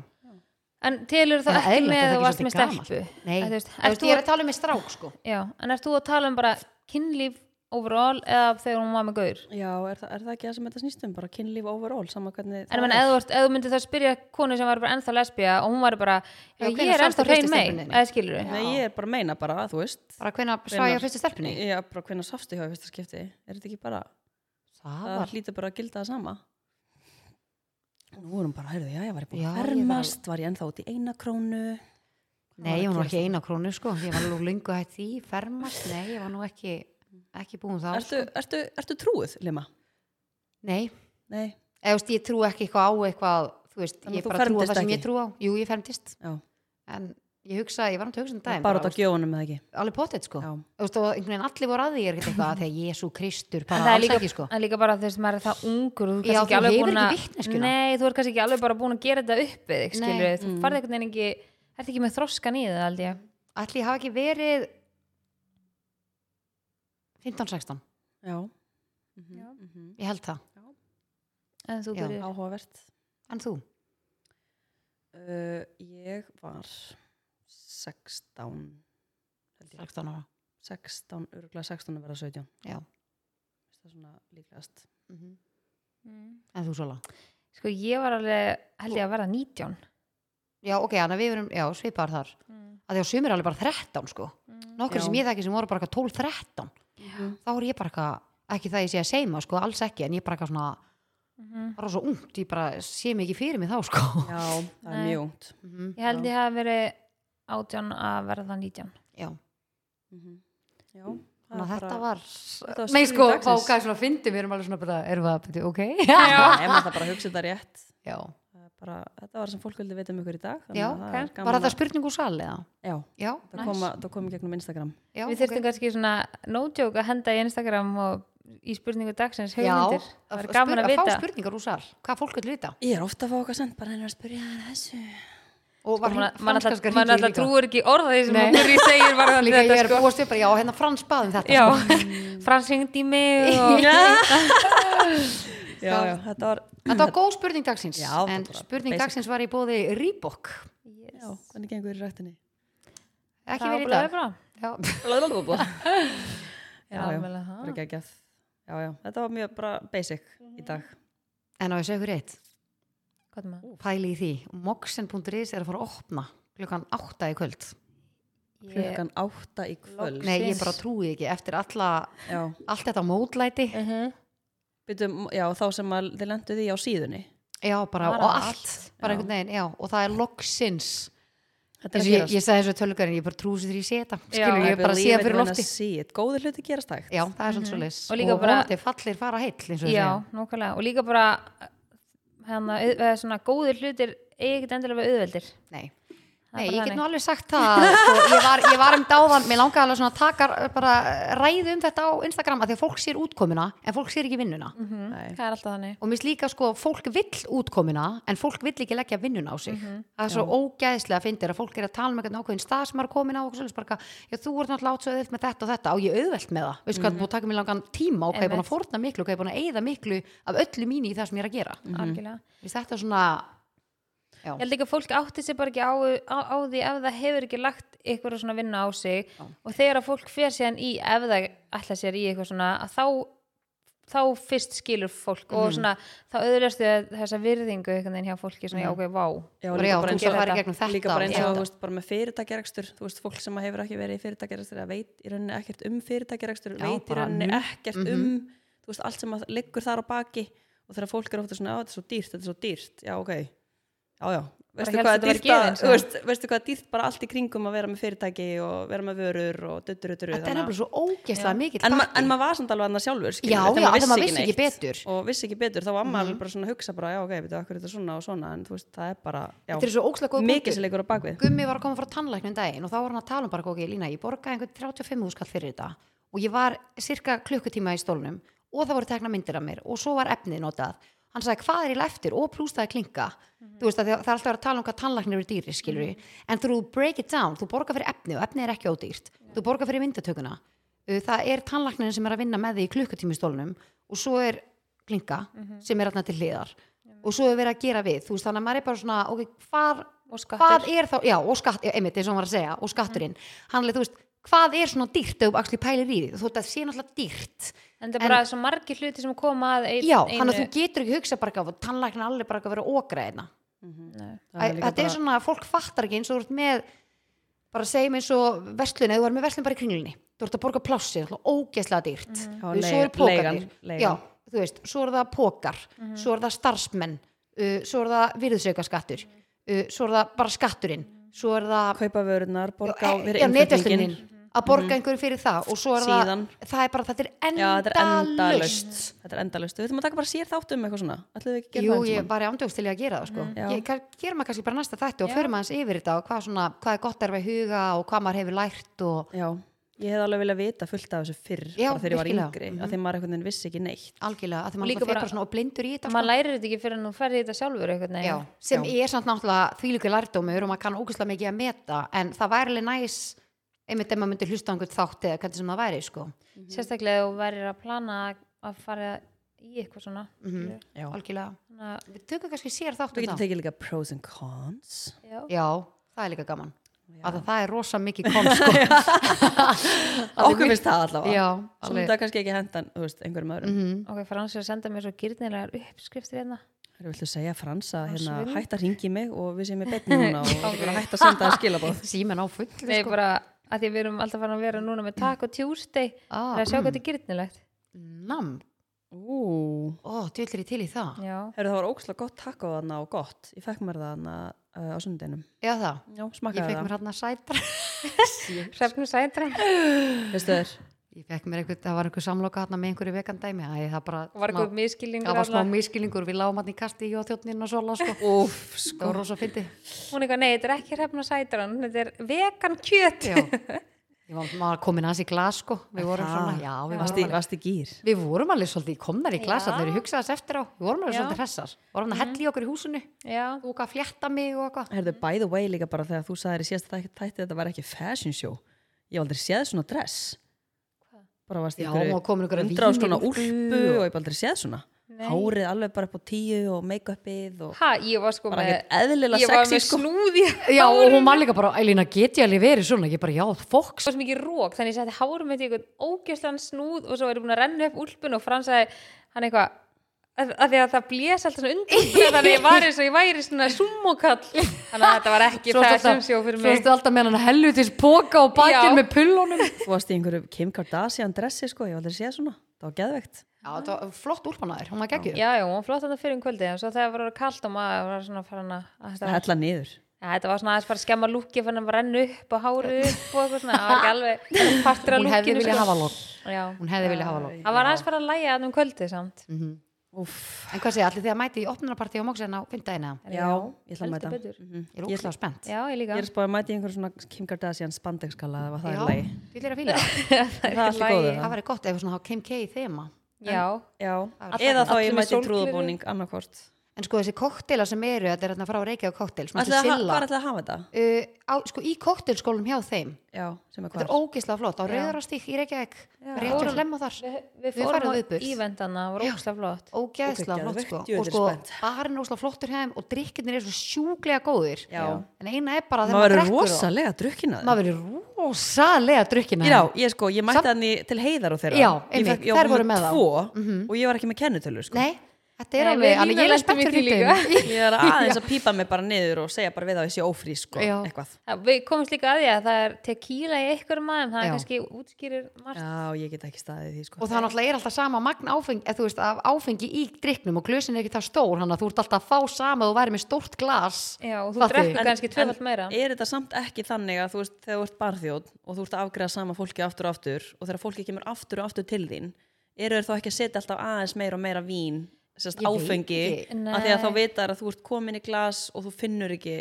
B: En telur það
A: Það er
B: ekki
A: eðlilegt,
B: með
A: er
B: að
A: það
B: þú
A: ekki
B: varst með
A: svolítið
B: stelpu?
A: sko. nei,
B: Að
A: þú
B: þú
A: veist,
B: veist, ert þú
A: ég er
B: að-
A: að tala um með strák, sko.
B: Já, en ert þú að tala um bara kynlíf overall eða þegar hún var með gaur?
C: Já, er, það- er það ekki það sem þetta snýst um? Bara kynlíf overall, sama
B: En
C: hvernig
B: ég meina, eða þú, ert- ef þú myndir það spyrja konu sem var bara ennþá lesbía og hún var bara, já,
A: Já,
B: ég
A: hvenær
B: er
A: sástu
B: ennþá hrein
A: fyrstu
B: mei,
A: stelpunni?
B: eða skilur við?
C: Nei, ég er bara að meina bara, þú veist.
A: Bara hvenær sá ég á
C: Hvenær?
A: fyrstu stelpunni?
C: Já, bara hvernig sástu hjá í fyrsta skipti? Er þetta ekki bara...
A: Það
C: það
A: var,
C: hlýtur bara að gilda það sama nú vorum bara, heyrðu, já, ég var búin
A: Já, ég
C: að
A: var-
C: fermast var ég ennþá út í eina krónu
A: nei, ég var nú
C: hérna?
A: ekki eina krónu, sko, ég var nú lungu hætt því, fermast, nei, ég var nú ekki, ekki búin þá, sko.
C: ertu, ertu, ertu trúið, Lima?
A: nei,
C: nei,
A: eða, þú veist, ég trú ekki eitthvað á eitthvað, þú veist,
C: Þannig að
A: ég
C: þú
A: bara trú á
C: fermdist
A: það sem
C: ekki?
A: ég trú á, jú, ég fermtist,
C: já,
A: en ég hugsa, ég var náttúrulega hugsa um daginn
C: bara út
A: bara,
C: af gjóðunum eða ekki
A: veist, alveg pottet sko
C: Já.
A: Þú veist, og einhvern veginn allir voru að því er ekkert
B: [laughs]
A: eitthvað að því að Jésu Kristur
B: En
A: bara
B: það er
A: alls
B: líka,
A: ekki sko
B: en líka bara þegar maður er það ungur og
A: Já,
B: þú kannski ekki
A: þú
B: alveg
A: hefur
B: búin
A: ekki
B: að
A: vitneskjuna.
B: Nei, þú er kannski ekki alveg bara búin að gera þetta upp við þig,
A: Nei. Mm.
B: skilur þú farði einhvern veginn ekki, ert ekki með þroskan í það held ég
A: allir hafa ekki verið 15-16
C: já,
B: Já.
A: ég held það,
B: en þú
A: Já.
B: byrjar
C: áhugavert
A: en þú
C: uh, ég var 16 held ég
A: 16 ára
C: 16, örgulega 16 að vera 17
A: Já.
C: það er svona líklegast
A: Mhm. en þú Sola
B: Sko ég var alveg, held ég að verða 19
A: já ok, þannig að við verum, já svipar þar
B: Mm.
A: að því á sumir alveg bara 13 sko nokkur
C: Já.
A: sem ég þekki sem voru bara eitthvað 12-13 þá er ég bara eitthvað, ekki það ég sé að seima sko, alls ekki, en ég bara eitthvað svona bara svo ungt, ég bara sé mig ekki fyrir mig þá sko
C: já, það er
B: Nei.
C: mjög ungt
A: Mhm,
B: Ég held ég hafi verið 18 að verða 19
A: já,
C: Mhm. já,
A: þannig að þetta
C: þetta var
A: var nei
C: skýring
A: sko,
C: dagsins.
A: fá hvað svona fyndi við erum alveg svona bara, erum við að byrja, ok
C: Nei, maður það bara hugsa þetta rétt
A: já,
C: Það er bara, þetta var sem fólk vildi vita um ykkur í dag
A: já,
C: það er
A: var
C: gaman
A: þetta
C: að,
A: spurning úr sal eða?
C: já,
A: já,
C: það kom, að, það kom í gegnum Instagram
A: já,
B: Við þurftum kannski svona no joke að henda í Instagram og í spurningu dagsins
A: já,
B: hugmyndir Það
A: að,
B: var gaman að
A: að fá
B: vita
A: spurningar úr sal hvað fólk vil vita
C: ég er ofta að fá okkar sent bara hennar að spyrja hann þessu
A: og var
B: Man-
A: hringt-
B: Man
A: Frans kannski
B: alltaf man
A: hringir
B: alltaf
A: líka.
B: trúir ekki orða því sem
A: Nei.
B: hann Gurri segir var
A: líka
B: þetta
A: ég er búast upp bara, já, hérna Frans baðum þetta
B: Já, [laughs]
A: sko.
B: Frans hringdi í mig og
C: já, já, þetta var
A: þetta var góð spurning dagsins
C: Já, það
A: en
C: var bara
A: spurning
C: basic.
A: dagsins var í bóði Reebok
C: já, hvernig gengur í rættinni
A: ekki
B: Það var
A: verið í
B: bara
A: dag
B: bra.
A: Já.
C: [laughs] já, já,
B: Alveg, ha.
C: bara geggjað já, já, þetta var mjög bara basic í dag
A: Mhm. en á ég segi ykkur eitt
B: Hvað er maður?
A: pæli í því, moxen.is er að fara að opna klukkan 8 í kvöld
B: Ég-
C: klukkan átta í kvöld
A: nei, ég bara trúi ekki, eftir alla
C: já,
A: allt þetta mótlæti,
B: Mhm.
C: byrjum, já, þá sem að þið lendu því á síðunni
A: já, bara,
B: Bara
A: og allt,
B: allt,
A: bara
C: já.
A: einhvern veginn, já, og það er loksins
C: þetta
A: eins og ég, ég sagði þessu tölgarinn, ég bara trúi sér því sé þetta skilur,
B: I
A: ég bara sé það fyrir lofti
C: síð, góði hluti gerast hægt
A: já, það er svolítið svolítið,
B: Og líka bara-
A: vonandi fallir fara heill, eins og ég
B: Já, nákvæmlega Og líka bara hana, eða svona góðir hlutir eiga ekkert endilega við auðveldir
A: Nei.
B: er
A: Nei,
B: bara
A: ég get
B: þannig.
A: nú alveg sagt það sko, ég, var, ég var um dáðan, mér langaði alveg svona að taka eh, bara ræðu um þetta á Instagram að því að fólk sér útkomuna en fólk sér ekki vinnuna
C: Nei.
B: Það er alltaf þannig
A: og mér finnst líka sko, fólk vill útkomuna en fólk vill ekki leggja vinnuna á sig
C: Mhm.
A: það er svo ógæðslega að finna að fólk er að tala með einhvern ákveðin stað sem maður er komin á og svolítið bara, eitthvað, já þú ert náttúrulega átt svo auðvelt með þetta og þetta og ég er auðvelt með það, veistu
C: Mhm.
A: hvað, þú taka mér langan tíma og hvað ég er búin að forna miklu og hvað ég er búin að eyða miklu af öllu mínu í það sem ég er að gera mm
C: Mhm.
B: Algjörlega
A: þetta svona, já,
B: Ég held ekki að fólk átti sér bara ekki á, á, á því ef það hefur ekki lagt eitthvað svona vinna á sig og þegar að fólk fer síðan í ef það ætla sér í eitthvað svona að þá, þá fyrst skilur fólk
A: Mhm.
B: og svona þá auðvitaðstu þessa virðingu einhvern veginn hjá fólki svona já ok, vá
C: Já,
A: bara,
C: líka
A: já
C: bara
A: þú
C: eins
A: svo
C: og
A: farið
B: þetta.
A: gegnum þetta
C: líka bara eins
A: þetta.
C: og þú veist, bara með fyrirtækjarekstur þú veist, fólk sem hefur ekki verið í fyrirtækjarekstur eða veit í rauninni ekkert um fyrirtækjarekstur
A: Já,
C: veit í
A: bara mm, mhm.
C: rauninni
A: null.
C: ekkert um þú veist, allt sem að liggur þar á baki og þegar fólk er ofta svona, á, þetta er svo dýrt þetta er svo dýrt, já, ok já, já,
A: hérna
B: helst
C: veistu hvað er
B: þetta væri
C: dýrt að,
B: gefins,
C: þú
B: já.
C: veist, veistu hvað er dýrt bara allt í kringum að vera með fyrirtæki og vera með vörur og döttur, döttur,
A: Þetta er nefnilega svo ógeðslega mikill
C: en, ma
A: pakki.
C: en maður var samt alveg annað sjálfur skilur,
A: Já,
C: við,
A: já,
C: þegar
A: þegar maður vissi ekki
C: neitt.
A: betur. Mhm.
C: og vissi ekki betur, þá var maður alveg bara svona að hugsa bara, já, ok, veitu, akkur er þetta svona og svona en þú veist, það er bara, já,
A: Þetta er svo ógeðslega góð
C: mikið sem leikur á bakvið
A: Gummi var að koma frá tannlæknum daginn og þá var hann að tala um bara ok, Lína, ég borgaði einhvern 35 úrskall fyrir þetta og ég var cirka klukkutíma í stólnum og það voru tekna myndir af mér og svo var efnið notað. Hann sagði hvað er ég eftir og plústaði klinka. Þú veist að það það er alltaf að vera að tala um hvað tannlæknir eru dýri, skilur ég. En þú break it down, þú borgar fyrir efnið og efnið er ekki ódýrt. Þú borgar fyrir myndatökuna. Uh, Það er tannlæknirinn sem er að vinna með því í klukkutíma í stólnum og svo er klinka sem er alltaf til hliðar. Og svo er verið að gera við, þú veist, þannig að maður er bara svona, ok, hvar
B: og skattur
A: hvað er þá, já, og skatt, já, einmitt eins og hann var að segja, og skatturinn, hann leið, þú veist, hvað er svona dýrt ef þú axli pælir í því, þú veist að það sé náttúrulega dýrt,
B: en það er bara svo margir hluti sem koma að ein,
A: já, hann að þú getur ekki hugsa bara að tannlækna allir bara að vera ógræðina,
B: Nei.
A: þetta er svona að fólk fattar ekki eins og þú ert með bara segjum eins og verslun, eða þú er með verslun bara í kringlunni, þú ert að borga plássi, það er ógeðslega dýrt,
C: Já,
A: Og svo
C: leigan-
A: eru pókarnir,
C: leigan- leigan.
A: já, þú veist, svo eru það pókar, svo eru það starfsmenn, uh, svo eru það virðsaukaskattur, uh, svo eru það bara skatturinn, svo eru það
C: kaupa vörunar, borga á
A: Já,
C: þeirra
A: já, netverslunin.
C: innflutningin
A: að borga einhverju fyrir það og svo er
C: Síðan.
A: það, það er bara, þetta er
C: Já, þetta er
A: endalaust
C: endalaust Þetta er endalaust, við ætlum að taka bara sér þátt um eitthvað svona Ætlum við ekki að gera
A: Jú,
C: það
A: ég
C: eins og
A: var í ándjóðs til ég að gera það sko.
C: Mhm. Já.
A: ég kann- gerum maður kannski bara næsta þætti og
B: Já.
A: förum aðeins yfir þetta og hvað, svona, hvað er gott er að huga og hvað maður hefur lært og
C: Já, ég hef alveg viljað vita fullt af þessu fyrr
A: Já,
C: bara þegar ég var
A: virkilega. Mhm.
C: yngri, af því að maður einhvern veginn vissi ekki neitt
A: algjörlega, að því maður líka
B: Líka
A: bara,
B: bara-
A: bara svona og blindur í þetta sko.
B: maður lærir þetta ekki fyrir en þú ferði þetta sjálfur einhvern
A: Já,
B: veginn
A: sem
C: Já.
A: er samt náttúrulega þvílíku lærdómur og maður kann ógustlega mikið að meta en það væri alveg næs einmitt ef maður myndi hlusta á einhvern þátt eða hvernig sem það væri sko.
B: Mhm. sérstaklega ef þú værir að plana að fara í eitthvað svona
A: Mhm.
C: Já.
A: algjörlega,
B: þannig að,
A: við tökum kannski sér þátt
C: Þú
A: um
C: getur
A: það
C: tekið líka pros and cons
B: já,
A: Já, það er líka gaman af því að það er rosa mikið
B: [laughs]
A: kom sko.
C: Okkur finnst það allavega
A: Já,
C: Svona
A: alveg
C: þetta kannski ekki hendan, þú veist, einhverjum öðrum
A: Mhm.
B: ok, Frans er að senda mér svo gyrnilegar uppskriftir hérna
C: Það viltu segja Frans að hérna,
B: svindl.
C: hætta að ringi mig og við séum í
A: [laughs]
C: betni núna og okay. hætta að senda að skilabóð
A: símen á full sko.
B: Nei, bara að því að við erum alltaf farin að vera núna með Taco Tuesday það er að sjá hvað þetta er gyrnilegt
A: Ah. Nam,
C: Ú,
A: ó, dvillir ég til í það
B: já,
C: Heru, það var ókslega gott takk á þarna og gott. Ég fekk mér það þarna uh, á sundinum.
A: Já það,
C: Já,
A: ég
C: smakkaði
A: fekk mér
C: það.
A: hann að sætra
B: Hrefnum
A: [laughs]
B: Sætran
C: Veistu þér?
A: Ég fekk mér einhvern, það var einhver samloka hann með einhverju vegandæmi Æ, það bara
B: var
A: smá-
B: eitthvað miskilningur
A: Það var smá
B: alla.
A: miskilingur, við lágum hann í kasti í og þjóttnirna og svola sko.
C: Úf,
A: Það var rosa fyndi
B: [laughs] hún eitthvað, nei, þetta er ekki Hrefnum Sætran þetta er vegan kjöt
A: Já, ég var maður komin aðeins í glas sko. Við vorum
C: það.
A: svona, já, við
C: Vasti,
A: vorum alveg
C: vasti gýr.
A: Við vorum alveg svolítið komnar í glas
B: Já.
A: þegar ég hugsaði þess eftir á, við vorum alveg
B: Já. Mhm.
A: svolítið hressar vorum að hella í okkur í húsinu
B: já,
A: og hvað flétta mig og eitthvað
C: Herðu, by the way líka bara þegar þú sagðir í síðasta þætti þætti að þetta var ekki fashion show. Ég hef aldrei séð svona dress. Bara vasti
A: Já, og komin einhverja
C: hundra
A: vín í
C: skona
A: úlpu
C: úlpu og ég hef aldrei séð svona.
B: Nei.
C: Hárið alveg bara upp á tíu og make-upið og
B: ha, ég var sko
C: bara
B: með
C: ekkert eðlilega
B: ég var
C: sexy
B: með
C: sko.
B: snúði
A: Já, og hún var líka bara, Elina, get ég alveg verið svona? Ég bara, já, fóks.
B: svo mikið rók, þannig ég setti hárum með einhvern ógjörslan snúð og svo er ég búin að renna upp úlpun og fransaði hann eitthvað að, að því að það blés alltaf svona undir úlpuna, þannig að ég var eins og ég væri svona sumokall þannig að þetta var ekki
A: Svo
B: það
A: ertu
B: sem
A: alltaf-
B: sjó fyrir
A: Svo
B: mig
A: ertu alltaf með hann hellutis póka og bakinn
B: Já.
A: með pullunum.
C: Þú varst í einhverju Kim Kardashian dressi sko, ég hef aldrei séð svona. Það var geðvegt.
A: Já, þetta var flott úlpanaður, hún var geggjuð.
B: já, já, hún var flott þetta fyrir um kvöldi en svo þegar það var kallt og maður var svona farin að að þetta
C: Það
B: var,
C: hella niður.
B: ja, þetta var svona aðeins bara að skemma lúki fann að renna upp og háru upp og eitthvað svona, það var ekki alveg partur af
A: Hún hefði
B: lúkinu
A: viljað hafa lók.
B: Já.
A: Hún hefði viljað hafa lók.
B: það var aðeins bara að læja hann um kvöldið samt
C: Úff.
A: En hvað segja, allir því að mæti í opnunarpartí á móksin á fymtaðina?
C: Já, ég ætla að
B: heldur
C: mæta.
B: betur.
C: Mhm.
A: Ég er
C: Ég ætla-
A: úkslega spennt.
B: já, ég líka
C: ég er spáð að mæta í einhverju svona Kim Kardashian spandekskala eða það er lei.
A: vil er að fýla.
B: [laughs]
A: það.
C: Það er allir góður
A: Það
C: það.
A: væri gott ef svona þá Kim K í þema.
B: já,
C: Já,
A: Allir-
C: eða þá
B: allir
C: ég
B: með
C: mæti í
B: sólgleraugu.
C: trúðabúning annarkort.
A: En sko þessi koktela sem eru, þetta er hérna frá Reykjavík koktel, svona
C: Ætli að
A: þessi
C: ha- Hvar
A: silla.
C: ætlaði að hafa þetta?
A: Uh, á, sko í koktelskólum hjá þeim.
C: Já, sem er
A: Þetta er
C: hvar.
A: ógislega flott, á Rauðarastík í Reykjavík. Rétt hjá
B: Fórum-
A: hlemma þar.
B: við,
A: Við
B: við fórum
A: fórum
B: á
A: á viðburð.
B: ívendana, það var ógslag flott
A: ógeðslega
C: Ok,
A: flott
C: geðveikt,
A: sko.
C: jú,
A: og
C: þetta er
A: sko
C: spennt.
A: barinn er ógeðslega flottur heim og drikkinir er svo sjúklega góður
C: Já.
A: en eina er bara að
C: Maður
A: þegar
C: verður
A: drekkur þá-
C: rosalega drukkinaður.
A: maður verður rosalega drukkin
C: Já, ég sko, ég mætti hann í- til heiðar og þeirra.
A: Já,
C: Ég
A: einmitt,
C: fékk- ég
A: þær
C: var
A: voru
C: með
A: með þá. Mhm.
C: Tvo og ég var ekki með kennutölu sko.
A: nei, þetta er
B: Nei,
A: alveg
B: við
A: alveg ég er
B: Lína
A: spennt
B: lentum í
A: fyrir
B: því
A: því
C: [laughs]
A: [laughs]
C: Ég er aðeins að pípa mig bara niður og segja bara við á þessi ófrí sko,
A: Já.
C: eitthvað.
B: Það- við komumst líka að því að það er tequila í einhverjum maður, það
A: Já.
B: er kannski útskýrir margt
C: Já, ég get ekki staðið í því sko.
A: og það náttúrulega er alltaf sama magn áfengi eða þú veist, af áfengi í drikknum og glösin er ekki það stór þannig að þú ert alltaf að fá sama að þú væri með stórt glas
B: já, og þú
A: Fattu.
B: drekkur
A: En-
B: kannski tvöfald meira
C: er þetta samt ekki þannig að þú veist, þegar þú ert barþjóð og þú ert að afgreða sama fólki aftur og aftur og þegar fólki kemur aftur og aftur til þín eru þeir þá ekki að setja alltaf aðeins meira og meira vín sérst
A: Ég veit
C: áfengi
A: ekki.
C: af því að þá
B: Nei.
C: vitar að þú ert komin í glas og þú finnur ekki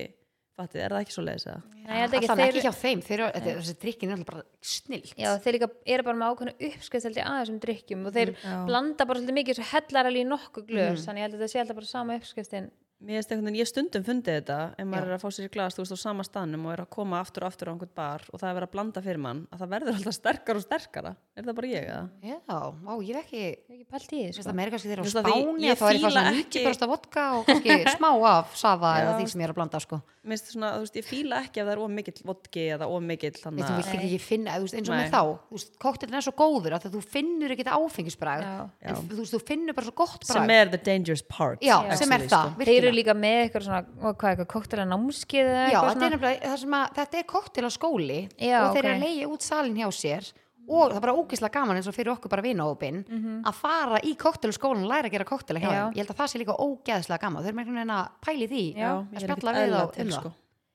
C: fattið, er það ekki svo leiðis að
B: Nei, ég held ekki,
A: alltaf ekki
B: þeir,
A: hjá þeim, þeir eru, þetta- þessi drikkin er alltaf bara snill
B: já, þeir líka eru bara með ákveðna uppskrift held ég, að þessum drikkjum og
A: Mm,
B: þeir blanda bara svolítið mikið svo hellar alveg í nokkuð glös þannig ég held að þetta sé alltaf bara sama uppskriftin
C: Mér finnst einhvern veginn, ég hef stundum fundið þetta ef maður er að fá sér í glas, þú veist, á sama staðnum og er að koma aftur og aftur á einhvern bar og það er verið að blanda fyrir mann, að það verður alltaf sterkara og sterkara. Er það bara ég, eða?
A: já, á, ég er ekki
B: Ég hef ekki pælt í því
A: Mér
B: sko.
A: finnst það meira kannski þeirra á
C: Mér finnst það því-
A: Spáni
C: ég
A: að þá er ég
C: fíla
A: fara svona
C: ekki-
A: 90% vodka og
C: [laughs]
A: kannski smá af safa eða því sem ég er að blanda sko.
C: Mér finnst svona, þú veist, ég fíla ekki ef það er ómikill vodki eða ómikill
A: Nei, þú
C: þannig
A: vilt ekki ekki finna, þú veist, eins og
C: Nei.
A: með þá þú veist, koktelin er svo góður að þú finnur ekki þetta áfengisbrag
B: Já.
A: en þú veist, þú finnur bara svo gott brag
C: sem er the dangerous part
A: já,
C: actually,
A: sem er það,
C: sko.
B: þeir eru
A: virkilega
B: líka með eitthvað svona, og hvað, eitthvað koktela námskið eða
A: já,
B: eitthvað
A: þetta er nefnilega, það sem að þetta er koktela skóli
B: Já,
A: og þeir eru
B: ok.
A: að leiða út salin hjá sér og það er bara ógislega gaman eins og fyrir okkur bara vinahópin
C: Mhm.
A: að fara í koktela skólan og læra að gera koktela hjá
B: Já.
A: þeim ég held að það sé líka ógeðslega gaman, þeir eru með einhvern veginn að pæli því
C: Já,
A: að
C: ég er ekkert
A: spjalla við
C: eðla
A: þá
C: til,
A: um það
C: sko.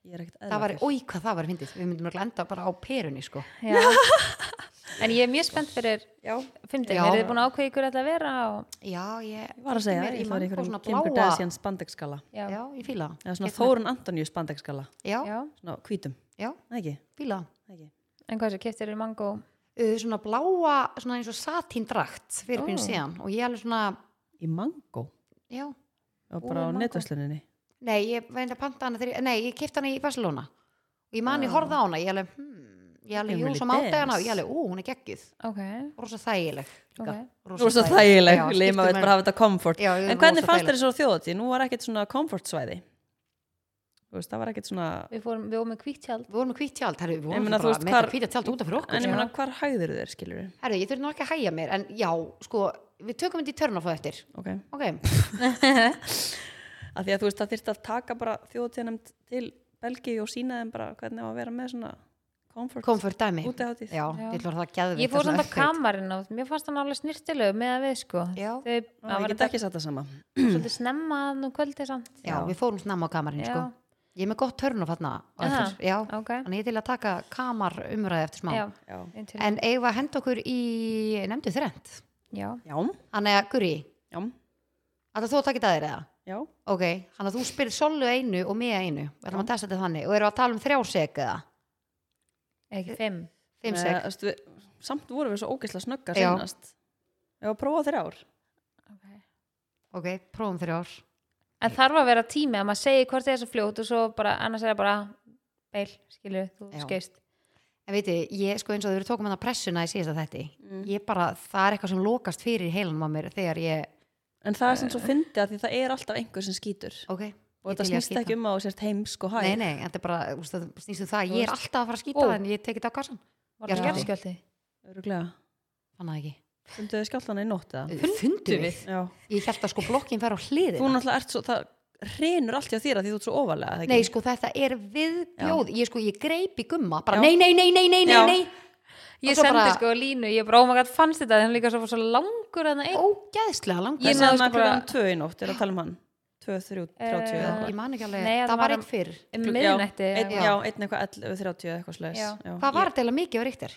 C: ég er ekkert
A: það var,
C: eðla
A: oi hvað það var fyndið, við myndum að glenda bara á perunni sko
B: Já. en ég er mjög spennt fyrir
C: Já,
B: fundin,
A: Já.
B: er þið búin að ákveða ykkur ætla að vera og...
A: já, ég
C: ég var að segja,
A: mér,
C: ég
A: man eitthvað
C: var í einhverjum
A: svona
C: Kim
A: bláa-
C: Kardashian spandekskala
B: já.
A: já, ég fíla það.
C: eða svona
A: Ég-
C: Þórun Antoníu spandekskala
A: já,
B: Já.
C: svona hvítum,
A: já,
C: Nei, ekki,
A: fíla það.
C: Nei, ekki.
B: en hvað þessu, keftir eru mango
A: uh, svona bláa, svona eins og satíndrakt fyrir
B: Ó.
A: pínu síðan og ég alveg svona,
C: í mango
A: já
C: og
B: Ó,
C: bara á
B: Mango.
C: netvæsluninni
A: nei, ég veit að panta hana þegar, nei, ég kipta hana í Barcelona og ég man, ég horfði á hana, ég alveg hmm, ég alveg, jú,
C: Emily
A: svo mátti hana og
C: Dance.
A: ég alveg, ú, hún er geggjuð
B: ok,
A: rosa þægileg líka.
B: Ok.
C: rosa þægileg,
A: Já,
C: leið maður
A: skiptir
C: veit bara
A: mér-
C: hafa þetta comfort
A: Já,
C: en hvernig fannst þér þessu þjóðatíð, nú var ekkert svona comfort svæði þú veist, það var ekkert svona
B: við fórum, við ómum kvíttjald
A: við vorum með hvít tjald, herru, við
C: Ég
A: vorum
C: meina,
A: bara
C: þú veist,
A: með þetta
C: hvar-
A: hvíta tjald út af fyrir okkur sko.
C: en ég meina, hvar hægður þér, skilur við
A: herru, ég þurfti nú ekki að hæja mér, en já, sko við tökum þetta í törn á fóð eftir
C: ok,
A: ok,
C: af því að þú veist, það þyrfti að taka bara þjóðatíðanemnd til Belgíu og sína þeim bara hvernig á að vera með svona comfort,
A: komfort dæmi já,
C: útihátíð
B: Já.
A: ég ætlur það geðvikt
B: ég fór samt á kamarinn og mér fannst hann alveg snirtilegu með að við sko
A: Já.
B: þau
C: Á,
B: það
C: ég
B: var
C: get ekki satt það sama
B: svolítið snemma nú kvöldið samt
A: já, við fórum snemma á kamarinn, sko
B: Já.
A: ég er með gott törn á þarna á
B: Aha,
A: eftir, já,
B: ok.
A: þannig ég er til að taka kamar umræði eftir smá
B: já,
C: já,
B: en,
A: en eigum við að henda okkur í nefndu þrend
B: já.
C: já,
A: þannig að Guri,
C: já,
A: alltaf þú að taka í dagir eða
C: já.
A: ok, þannig að þú spyrir Sollu einu og mig einu, við ætlum að testa þetta þannig og erum að tala um þrjá sek eða
B: ekki fimm
A: fimm
C: Nei,
A: sek,
C: Eh, þú veist, við, samt vorum við svo ógeðslega snögga
A: Já.
C: senast ég var að prófa þrjár
B: okay.
A: ok, prófum þrjár
B: En þarf að vera tími að maður segi hvort þið er svo fljótt og svo bara, annars er það bara beil, skilur, þú
A: Já.
B: skeist
A: en veitu, ég sko eins og þú eru tókum hann að pressuna í síðasta þetti, ég bara það er eitthvað sem lokast fyrir heilanum á mér þegar ég,
C: en það er sem svo fyndi að því það er alltaf einhver sem skýtur
A: ok
C: og þetta snýst ekki um að þú sért heimsk og hæg
A: Nei, nei, þetta er bara, þú veist, það snýst um það, ég er alltaf að fara að skýta
B: Ó.
A: en ég tekið þetta á kassan,
B: Var
A: Já,
B: það
A: já.
B: jarðskjálfti?
C: Öruglega.
A: fann það ekki.
C: Funduðu þið skjáltana í nótt eða?
A: Fundu við?
C: Já.
A: Ég held að sko blokkin fer á
C: Þú
A: hliðin.
C: náttúrulega ert svo, það reynur allt hjá þér að því þú ert svo ofalega.
A: Nei, sko þetta er viðbjóð. Ég sko, ég greip í gumma, bara
C: Já.
A: nei, nei, nei, nei, nei, nei,
C: Já.
A: nei.
B: Ég
A: svo
B: sendi
A: bara-
B: sko línu, ég bara, oh my god, fannst þetta en líka svo, svo langur að það einn
A: Ógæðslega langt.
B: Ég
C: Ég
B: náði
C: náðu
B: sko
C: sko bara...
B: bara-
C: tvö í nótt, er að tala um hann. Tvö, þrjú,
A: Eh,
C: þrjátíu eða
A: Ég
C: eitthvað.
A: man ekki alveg,
B: Nei,
A: það
B: það
A: var
B: var-
A: einn fyrr.
B: um
C: Já,
B: miðnætti eða
C: einn-
B: eitthvað.
C: Já, einn eitthvað 11, 30 eða eitthvað slags.
B: Já.
A: Hvað var þetta eiginlega mikið á ríktir?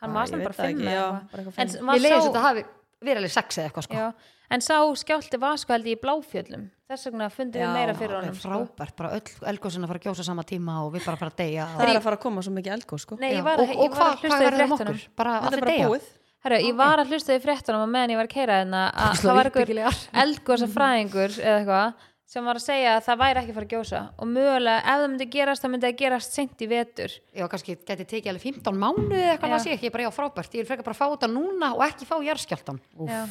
B: Hann var samt bara fimm
C: eða
B: eða
C: eitthvað.
B: eitthvað.
C: Bara eitthvað
B: En
C: fimm.
A: Ég
B: maður
A: leiði
B: sá-
A: þetta hafi verið alveg sex eða eitthvað sko.
B: Já, en sá skjálfti var sko held ég í bláfjöllum þess vegna fundum við meira fyrir honum sko.
A: Frábært, bara öll elgósin að fara að gjósa sama tíma og við bara að fara að deyja.
C: Það er að fara að koma svo mikið eldgóð, sko.
B: Nei,
A: Já.
B: ég var,
A: Og-
B: ég
A: og
B: var
A: hvað
B: að
A: hvað
B: hlusta í
A: verður um
B: fréttunum
A: okkur? Bara
C: Þetta
A: allir
C: er bara
A: deyja?
C: búið.
B: Herra, ég var að hlusta í fréttunum og meðan ég var að keira hérna að
A: Svo
B: það var einhver
A: uppbyggilegar.
B: eldgósa fræðingur eða eitthvað sem var að segja að það væri ekki að fara að gjósa og mögulega ef það myndi gerast það myndi að gerast seint í vetur
A: Já, kannski gæti tekið alveg 15 mánuði eða eitthvað,
B: Já.
A: það sé ekki, ég er bara já, frábært, ég vil frekar bara fá þetta núna og ekki fá jarðskjáltan.
C: Mm.
B: Já.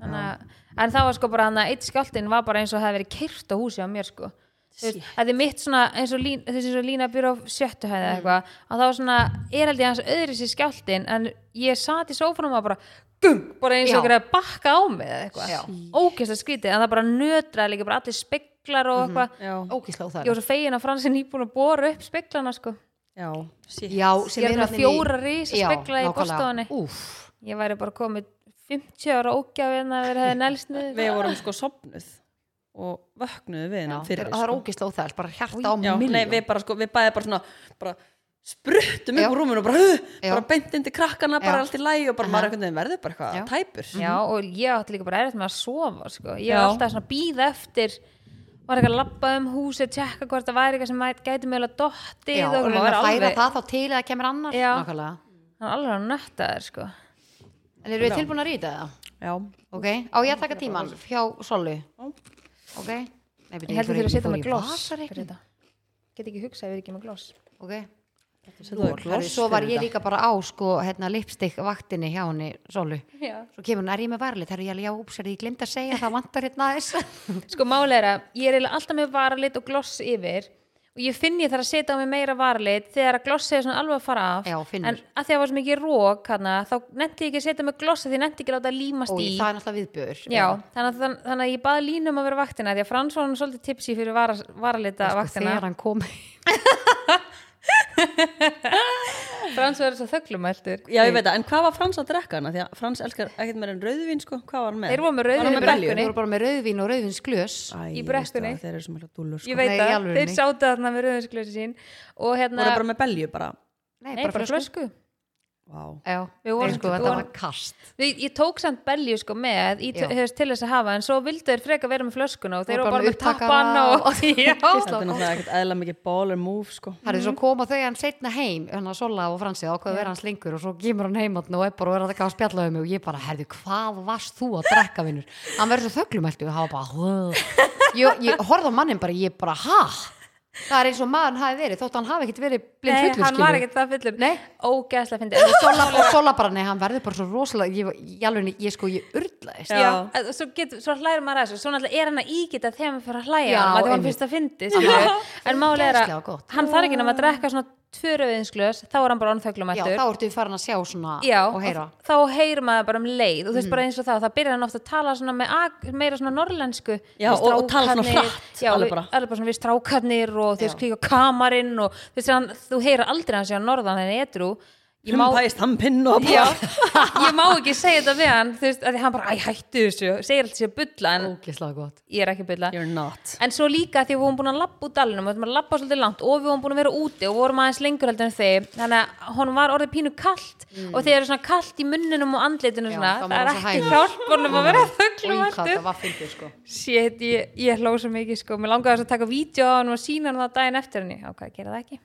B: Þannig, að- en það var sko bara hann að eitt skjáltin var bara eins og það hefði verið kyrt á húsi á mér sko Þú veist, það er mitt svona eins og, lín, þessi eins og lína býr á sjöttu hæði eða eitthvað að það var svona, er held ég hans öðri sér skjáltin en ég sat í sófanum og bara gung, bara eins og
A: Já.
B: okkur að bakka á mig
A: Já.
B: eða eitthvað, ókjast að skrítið en það bara nötraði líka bara allir speklar og eitthvað,
C: Já.
A: Ógislega
B: ég
A: óþægilegt.
B: var svo fegin að fransin íbúin að bora upp speklana sko
C: Já. Shit.
A: Já,
B: Ég
A: sem
B: er
A: eru
B: með
A: allir í-
B: fjóra risa
A: Já,
B: spegla í
A: nákvæmlega.
B: borðstofunni.
A: Úff,
B: ég væri bara komið 50 ára ógjafi en það verið hefði nælst niður
C: Við vorum sko sopnuð og vöknuðu við hennan fyrir, sko.
A: það er ógislega óþægilegt, bara hjarta á
C: Já, nei,
A: miljón.
C: við bara sko, við bæði bara svona bara spruttum
A: Já.
C: upp úr rúminu og bara, uh,
A: Já.
C: bara beint indi
A: Já.
C: krakkana, bara allt í lægi og bara
A: Aha.
C: maður einhvern veginn verður bara eitthvað
A: Já.
C: tæpur
B: já og ég átti líka bara erfitt með að sofa sko. ég
C: Já.
B: var alltaf svona að býða eftir var eitthvað að labba um húsi tjekka hvort það væri eitthvað sem mæt- gæti mögulega dottið
A: Já, og
B: maður
A: reyna
B: var
A: að færa
B: um alveg-
A: það þá til að það kemur annar.
B: Já.
A: Nákvæmlega.
B: hann alveg að nötta þér sko.
A: En eru við tilbúin að rýta það?
C: Já.
A: Ok, á ég að taka tíman hjá Sollu. Ok. Nei, byrju,
B: ég
A: fór
B: heldur
A: í-
B: þér að setja
A: fór
B: með
A: í
B: gloss
A: vasareikning.
B: fyrir þetta. get ekki hugsað ef við erum ekki með gloss
A: Ok.
C: Settu það
A: Herri,
C: gloss
A: Svo var
C: fyrir
A: ég
C: þetta.
A: líka bara á sko, hérna, lipstick vaktinni hjá henni Sollu.
B: já.
A: Svo kemur hún, er ég með varlit? Herru, ég alveg, já, úps, er ég glemt að segja, það vantar hérna
B: [laughs]
A: aðeins.
B: sko máli er að ég er eiginlega alltaf með varalit og gloss yfir og ég finn ég þarf að setja á mig meira varalit þegar að glossið er svona alveg að fara af
A: Já,
B: en
A: finnur.
B: að því að það var svo mikið rók hana, þá nefndi ég ekki að setja með gloss af því ég nefndi ekki að láta það límast
A: og
B: í
A: það er náttúrulega viðbjör
B: Já, þannig að, þann- þannig að ég baði Línu um að vera vaktina því að Frans var hann svolítið tipsi fyrir vara,
A: Sko,
B: varalita vaktina
A: þegar hann kom
B: Frans Frans verður svo þöglumæltur
C: Já, ég veit það, en hvað var Frans að drekka hana? Því að Frans elskar ekkert meira en rauðvín, sko. Hvað var hann með?
B: Þeir voru með
A: Bara
B: rauðin í
A: með belju,
B: brekkunni
A: voru bara með rauðvín og rauðvinsglös
C: Æ,
B: í brekkunni.
C: veistu það, Þeir eru sem alltaf dúllur, sko.
B: Ég veit
A: Nei, í
B: það,
A: alvörunni.
B: þeir sáttu þarna með rauðinsklösi sín og hérna,
C: Voru bara með belju, bara.
A: Nei,
B: nei, bara flösku
C: Vá.
A: Já,
B: Við vorum-
A: Nei, sko,
B: við
A: þetta
B: vorum-
A: var kast
B: Við- Ég tók samt belju sko með í,
A: Já.
B: hefst, til þess að hafa en svo vildu þeir freka vera með flöskuna og þeir
A: Voru bara
B: voru bara
A: með
B: með
A: upptakara
B: tappan og, [laughs]
A: og- Já.
C: Þetta er náttúrulega ekkert eðla mikið baller move, sko.
A: Það er svo
B: Mhm.
A: koma þau hann setna heim hann að Sola og Fransi ákveðu að vera hans lengur og svo kemur hann heim þarna og er bara og er að það að spjalla um mig og ég bara, herðu, hvað varst þú að drekka vinnur? Hann verður svo þöglumæltu og hafa bara "Huh." ég, ég horfði á mannin bara, ég bara, ha? Það er eins og maðurinn hafi verið, þótt hann hafi ekkit verið blind
B: Nei,
A: fullur,
B: hann var
A: skilurðu.
B: ekkert það fullur
A: Nei.
B: Ógeðslega fyndi En
A: Sola, og Sola bara, nei, hann verður bara svo rosalega ég, ég, alveg, ég sko, ég urlaðist
C: Já.
B: Já, en svo, get, svo hlærir maður að þessu svo náttúrulega er hann að ígita þegar maður fyrir að hlæja
A: Já,
B: já, að hann
A: einmitt.
B: fyrst að fyndi skilurðu.
A: [laughs]
B: en máli er að
A: Gæðslega gott.
B: hann þarf ekki nema að drekka svona tvö rauðinsglös þá er hann bara
A: Já,
B: onþöglumættur
A: þá ertu farin að sjá svona
B: Já,
A: og heyra
B: og þá heyrir maður bara um leið og þú veist
C: Mm.
B: bara eins og þá, það byrjar hann ofta að tala svona með ag- meira svona norlensku
C: Já,
B: Við
C: og- og tala svona
B: strákarnir,
C: hratt,
B: já,
C: alveg
B: við-
C: bara.
B: alveg bara svona við strákarnir og þú veist klíka kamarinn og þú veist hann, þú heyrir aldrei hans ég á norðan en edru ég má,
C: Hlumpaði stampinn og
B: já, ég má ekki segja þetta við hann þú veist, að því hann bara, æ, hættu þessu segir allt sér bulla, en
A: Ógislega gott
B: ég er ekki bulla
C: You're not.
B: En svo líka því að við vorum búin að lappa út dalnum og við vorum að lappa svolítið langt og við vorum búin að vera úti og vorum aðeins lengur heldur en þeim þannig að honum var orðið pínu kallt og þegar er svona kallt í munninum og andlitinu
A: Mm. Já,
B: svona,
A: þá má
B: það er
A: hann svo
B: ekki
A: hægur.
B: hjálp honum að vera
A: Og í hvað
B: þögglumartur
A: það var fyndið sko
B: Shit, ég, ég hló svo mikið sko mér langaði þess að taka vídeo á hann og sína hann það daginn eftir henni ákvað að gera það ekki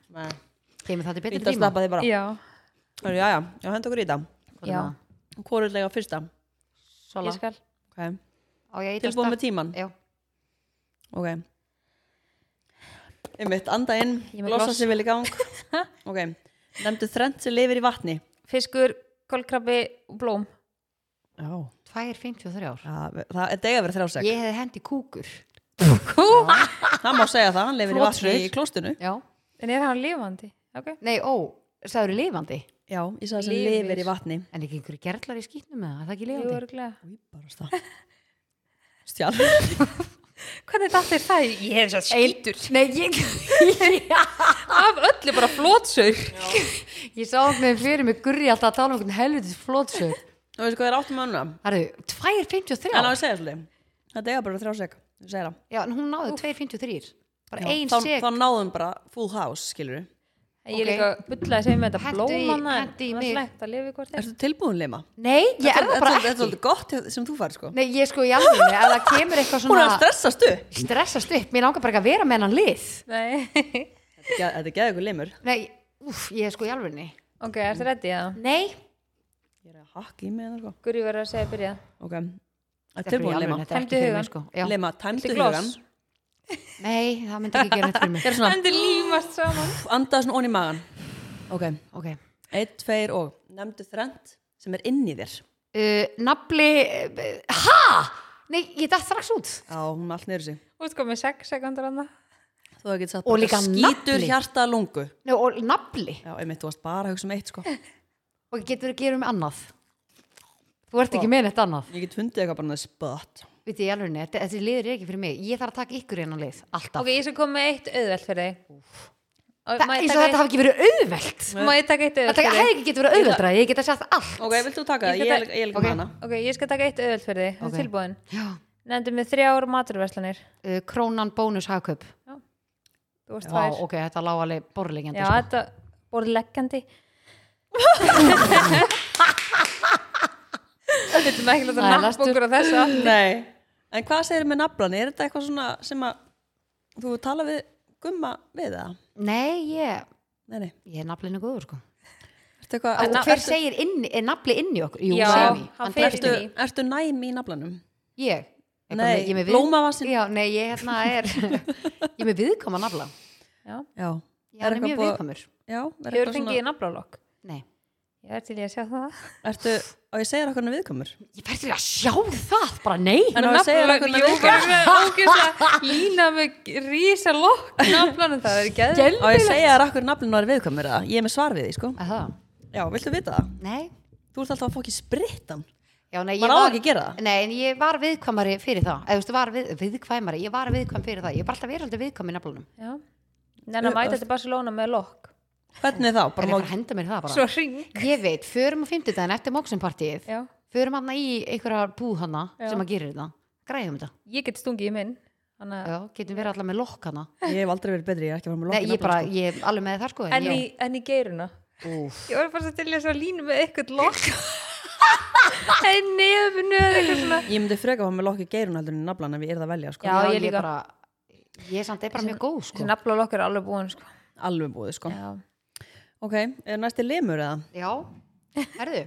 A: Kemur það til betri
C: Ítta að
A: tíma
C: slappa þig bara.
B: Já,
C: Hörru, Já, já, já, henda okkur í það.
B: já,
C: Hvorulega fyrsta.
A: Sola
B: ég skal
C: Ok.
A: Á ég að ýta
C: Tilbúin
A: stað?
C: með tíman.
A: Já,
C: Ok Einmitt, anda inn,
B: Ég er með
C: losa
B: gloss.
C: sig vel í gang Ok, nefndu þrend sem lifir í vatni
B: Fiskur, kolkrabbi og blóm
C: Já
A: tvær 53
C: Það, það er degja verið þrjásek
A: Ég hefði hendi kúkur
C: Það má segja það, hann lifir í vatni
A: Flotfreyr.
C: í klóstinu
A: Já
B: En er hann lifandi? Okay.
A: Nei, ó, sagður lifandi
C: Já, ég sagði sem
B: Lifir.
C: lifir í vatni
A: En ekki einhverju gerlar í skýtnum með það, er það ekki
B: Jú,
A: lifandi?
B: örugglega.
C: Stjálf
B: Hvernig datt þér það? í- Ég hef svo skítur
A: Nei,
B: [laughs]
A: ég,
B: Af öllu bara flótsaur
A: ég sá með fyrir mig gurri alltaf að tala um einhvern helvitis flótsög
C: Nú veistu hvað er áttum önuna
A: Það eru, tvær 53
C: En á að segja svolítið Það er degja verið þrjásek Segir það
A: Já, en hún náði tvær 53 Bara
C: Já,
A: ein
C: þá,
A: seg
C: þá náðum bara full house, skilur við
B: Ég
A: Ok.
B: líka bullaði sem með þetta
A: Hentu í-
B: blómana en
A: hentu í
B: það var
A: mig.
B: slæmt að lifa í hvort þeim
C: Ertu tilbúin, Lima?
A: Nei, ég er það bara
C: Þetta er
A: ekki
C: svolítið gott sem þú fær, sko
A: Nei, ég sko í alveg, ef það kemur eitthvað
C: Hún er að
A: svona
C: stressastu
A: stressast upp, mér langar bara ekki að vera með hennan lið.
B: Nei
C: Þetta er geða ykkur limur
A: Nei, úf, ég er sko í alvegni.
B: [laughs] Ok, ertu ready það?
A: Nei,
C: Ég er að hakka í mig en eitthvað
B: Guri verður að segja byrja
C: Ok,
A: þetta
C: er
A: er bara í
C: tilbúin Lema
A: alvegni, þetta er
B: Tæmdu
A: ekki fyrir
B: hugann.
A: mig sko. Já.
C: Lema, tæmdu
B: Viltu
C: hugan
B: gloss?
A: Nei, það myndi ekki gera neitt fyrir mig.
C: Gerðu svona,
B: Endur límast saman
C: pff, andaðu svona onni í magan Ok,
A: Ok.
C: eitt, tveir og Nefndu þrend sem er inn í þér
A: Uh, nafli, uh, ha? Nei, ég dætt strax út.
C: Já, hún er allt niður sig
B: Þú veist hvað með 6 sekundur annað
C: Þú hefði getið sagt
A: Og
C: bara,
A: líka
C: Skítur
A: nafli.
C: hjarta lungu
A: Nei, og nafli.
C: Já, einmitt, þú varst bara að hugsa um eitt sko Ég
A: Og getur þú að gera um annað. Þú ert ekki með neitt annað.
C: get fundið eitthvað bara næst spött
A: Viti, í alvegni, þetta, þessi liður er ekki fyrir mig. Ég þarf að taka ykkur hennan lið, alltaf.
B: Ok, ég sem kom með eitt auðvelt fyrir þig Og
A: Það,
B: má
A: eins
B: ég
A: og
B: taka
A: þetta hafi ekki verið auðvelt.
B: eitt- Má ég taka eitt auðvelt
A: Þetta
B: fyrir
A: hefði
B: þig?
A: ekki getur verið auðveldra, ég get að sagt allt.
C: Ok, vilt þú taka
B: Ég get
C: það? Ég
B: að-
C: er- ég er líka
A: Ok.
C: með hana
B: Ok, ég skal taka eitt auðvelt fyrir þig
A: Ok.
B: Þetta er tilbúin
A: Já.
B: Nefndu mig þrjár maturverslanir
A: Uh, krónan bónus hagkaup.
B: Þú varst
A: Vá,
B: tvær
A: ok, þetta lág alveg borðleggjandi.
B: Já,
A: sko.
B: þetta voru leggjandi Við veitum ekki að
A: Nei,
B: það
A: lastu.
B: nappa okkur á þessu
C: Nei, en hvað segir með naflan? Er þetta eitthvað svona sem að Þú tala við gumma við það?
A: Nei, ég,
C: Nei, nei
A: ég er naflinu góður sko.
C: Ertu eitthvað
A: Og hver segir inn, er nafli inn í okkur? Jú,
B: Já,
A: Sami,
B: hann
A: drepst í-
B: fer
C: Ertu,
B: inn í.
C: ertu næm í naflanum?
A: Ég? Ég er bara
C: Nei,
A: með- ég er með við-
C: blómavasin.
A: Já, nei, ég hérna er, ég er með viðkama nafla.
C: Já
A: Já, hann er mjög
C: búið-
A: viðkamur.
C: Já, er
B: Hefur
C: eitthvað
B: fengið
C: svona
B: nafnálokk?
A: Nei,
B: Ég er til ég að sjá það
C: Ertu, og ég segir okkur hann viðkomur
A: ég verður að sjá það, bara nei.
C: En á að segja okkur hann viðkomur
B: ógjöfla lína með rísa lokk nafnlanum það er geðvikt
C: Og ég segja okkur nafninu er viðkomur eða? Ég er með svar við því, sko
A: Að það?
C: Já, viltu vita það?
A: Nei.
C: Þú ert alltaf að fokki sprittan
A: Já, nei, ég
C: Maður á
A: var-
C: ekki að gera það.
A: Nei, en ég var viðkvæmari fyrir það. Eða, þú veist, var við, viðkvæmari, ég var viðkvæm fyrir það. Ég var alltaf verið alltaf viðkvæm í naflanum.
B: Nenna mæta til Barcelona með lokk
C: Hvernig þá? Bara
A: er
C: má
A: ég að henda mér í það bara
B: Svo ring
A: ég veit, förum á fimmtudaginn eftir móksinpartíið
B: Já.
A: förum hann í einhverja búð hana
B: Já.
A: sem að gerir þetta, græðum þetta
B: Ég get stungið í minn Þannig að
A: Já, getum verið allar með lokk hana
C: Ég hef aldrei verið betri, ég er ekki að fara með sko.
A: Nei,
C: lokkin
A: ég bara, ég er alveg með það sko
B: En í,
A: ég,
B: en í geiruna
A: úf,
B: Ég var bara að stilla svo línu með eitthvað [laughs] lokk En nefnu eða eitthvað svona
C: Ég myndi freka að fara með lokki geirun heldur en naflan ef ég er það að velja sko.
B: Já. ég líka.
A: bara, Ég samt er bara mjög góð sko
B: Þessi nafla lokk er alveg búin sko
C: Alveg búið sko.
B: Já
C: Ok, er næsti limur eða?
A: Já, herðu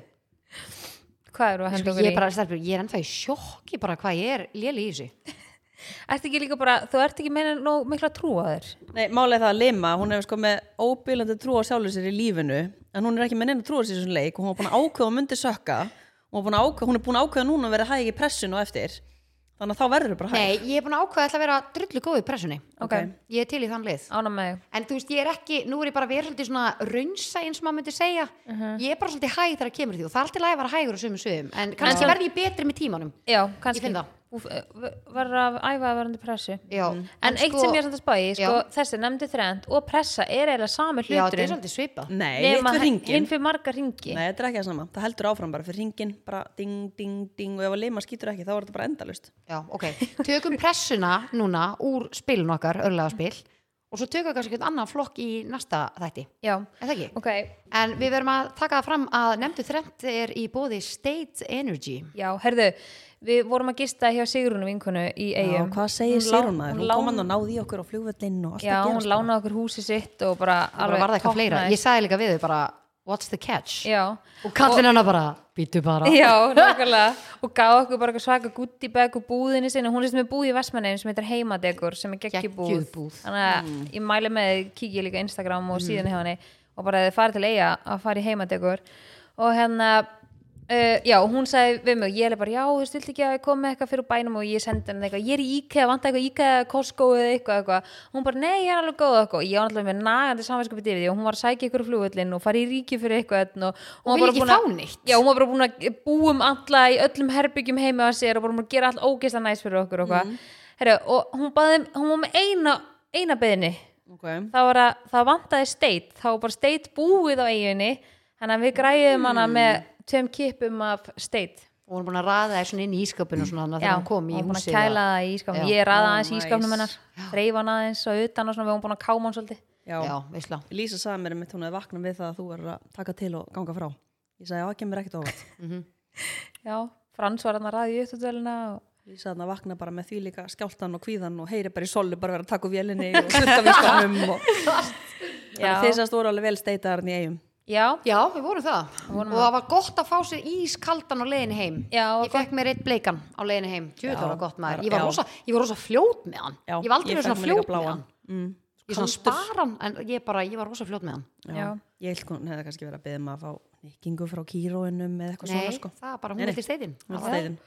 B: [laughs] Hvað eru að henda
A: Ég
B: okkur í?
A: er bara, stelpur, ég er ennþá í sjokki bara hvað ég er léli í
B: [laughs]
A: þessu
B: Ertu ekki líka bara, þú ert ekki meina nóg mikla trú á þér
C: Nei, málega það að lima, hún hefur sko með óbílandi trú á sjálfur sér í lífinu en hún er ekki með neina trú á sér í þessum leik og hún er búin að ákveða að myndi sökka og hún, ákveða, hún er búin að ákveða núna að vera hæg í pressun og eftir þannig að þá verður þú bara hæg
A: Nei, ég er búin að ákveða að ætla að vera drullu góð í pressunni
B: Ok.
A: Ég er til í þann lið
B: Ána með þig
A: En þú veist, ég er ekki, nú er ég bara að vera svolítið svona raunsa eins og maður myndi segja
B: Mhm.
A: Ég er bara svolítið hæg þegar kemur að því og það er alltaf læg að vera hægur á sömum sögum En kannski
B: En-
A: verði ég betri með tímanum
B: Já, kannski
A: finn það.
B: Þú f- verður að æfa að vera undir pressu
A: Já,
B: Mhm. En eitt sem ég er samt að spáði, sko,
A: Já.
B: þessi nefndi þrend og pressa er eiginlega sami
A: Já, þetta er
B: hluturinn
A: svolítið svipað
C: Nei, eitt fyrir ringin
B: hinn fyrir marga ringi
C: Nei, þetta er ekki það sama, það heldur áfram bara fyrir ringin bara ding, ding, ding og ef að lima skýtur ekki þá er þetta bara endalust
A: Já, ok. Tökum pressuna núna úr spilun okkar, örlega spil og svo tökum við kannski einhvern annan flokk í næsta þætti.
B: Já,
A: Er það ekki?
B: ok,
A: En við verum að taka það fram að nefndu þremt er í bóði State Energy.
B: já, herðu Við vorum að gista hjá Sigrúnu vinkunu í
C: Já,
B: eigum
C: hvað segir Sigrun maður? Hún kom
B: lán-
C: hann og náði í okkur á flugvöllinn og allt
B: Já,
C: að
B: hún
C: gerast
B: lánaði okkur húsi sitt og bara
A: Það bara sko? var það eitthvað fleira. Ég sagði líka við þau bara, what's the catch?
B: Já,
A: Og kallin hana bara, býtu bara. [laughs]
B: Já, nákvæmlega og gaf okkur bara eitthvað svaka guttibæk úr búðinni sinni, hún er sem er búð í Vestmanneim sem heitir heimadegur sem er geggjubúð
A: Geggjuð búð. Mm.
B: þannig að ég mæli með þið, kíkja líka á Instagram og síðan hjá henni og bara þið farið til eiga að fara í heimadegur og hérna Uh, já, hún sagði við mig, ég er bara, já, þú stilt ekki að ég kom með eitthvað fyrir bænum og ég sendi henni eitthvað, ég er í IKEA, vant eitthvað IKEA, Costco eða eitthvað, eitthvað, hún bara, nei, ég er alveg góð og eitthvað, og ég var alltaf með nagandi samvæskupið yfir því og hún var að sækja ykkur flugvöllin og fara í ríki fyrir eitthvað einn og hún
A: vil ekki
B: var bara búin að-
A: fá neitt.
B: Já, hún var bara búin að búum alla í öllum herbyggjum heima á sér og bara búin að gera allt ógeðslega næs fyrir okkur og
A: Mhm.
B: hvað. Herru, og hún, baði, hún var með eina, eina beðinni.
C: Ok.
B: Það var að það vantaði steit, þá var bara steit búið á eiginni, þannig að við græðum hana
A: Mm.
B: með tveim kippum af steit.
A: Og hún er búin að raða það svona inn í ísköpun og svona þannig að
B: Já,
A: þegar hún kom í
B: búin að
A: húsið.
B: kæla það í ískapnum,
A: Já. Oh
B: ég ræða
C: Ó,
B: aðeins í
C: nice.
B: ískapnum hennar, reyfa hana aðeins og utan og svona, við höfum búin að káma hann svolítið.
C: Já,
A: Já, veistla.
C: Lísa sagði mér mitt, hún hefði vaknað við það að þú er að taka til og ganga frá. Ég sagði, já, það kemur ekkert óvart.
B: Já, Frans var hann að ræða í upptöðvelina og
C: Lísa þannig að vakna bara með því líka skjáltan og kvíðan og heyri bara í solu, bara vera að taka úr vélinni og sutta við skonum og þannig
B: Já.
C: að þess að stóra alveg vel steitaðarinn í eigum.
B: já,
A: Já, við vorum það. og það var gott að fá sér ískaldan á leiðin heim.
B: Já,
A: ég fekk mér eitt bleikan á leiðin heim. Tjóður var það gott maður. Ég var,
C: Já.
A: rosa, ég var rosa fljót með hann.
C: Já,
A: ég var aldrei
C: ég
A: verið
C: fekk
A: svona
C: mér líka
A: fljót með
C: bláan. Mm.
A: hann. Ég svona spara hann, en ég bara, ég var rosa fljót með hann.
B: já.
C: Ég held hún hefði kannski verið að beða maður að fá nikkingu frá kýróinum eða eitthvað
A: Nei,
C: svona sko.
A: það er bara,
C: Nei,
A: hún
C: nei.
A: er til steitin.
C: Hún var steitin.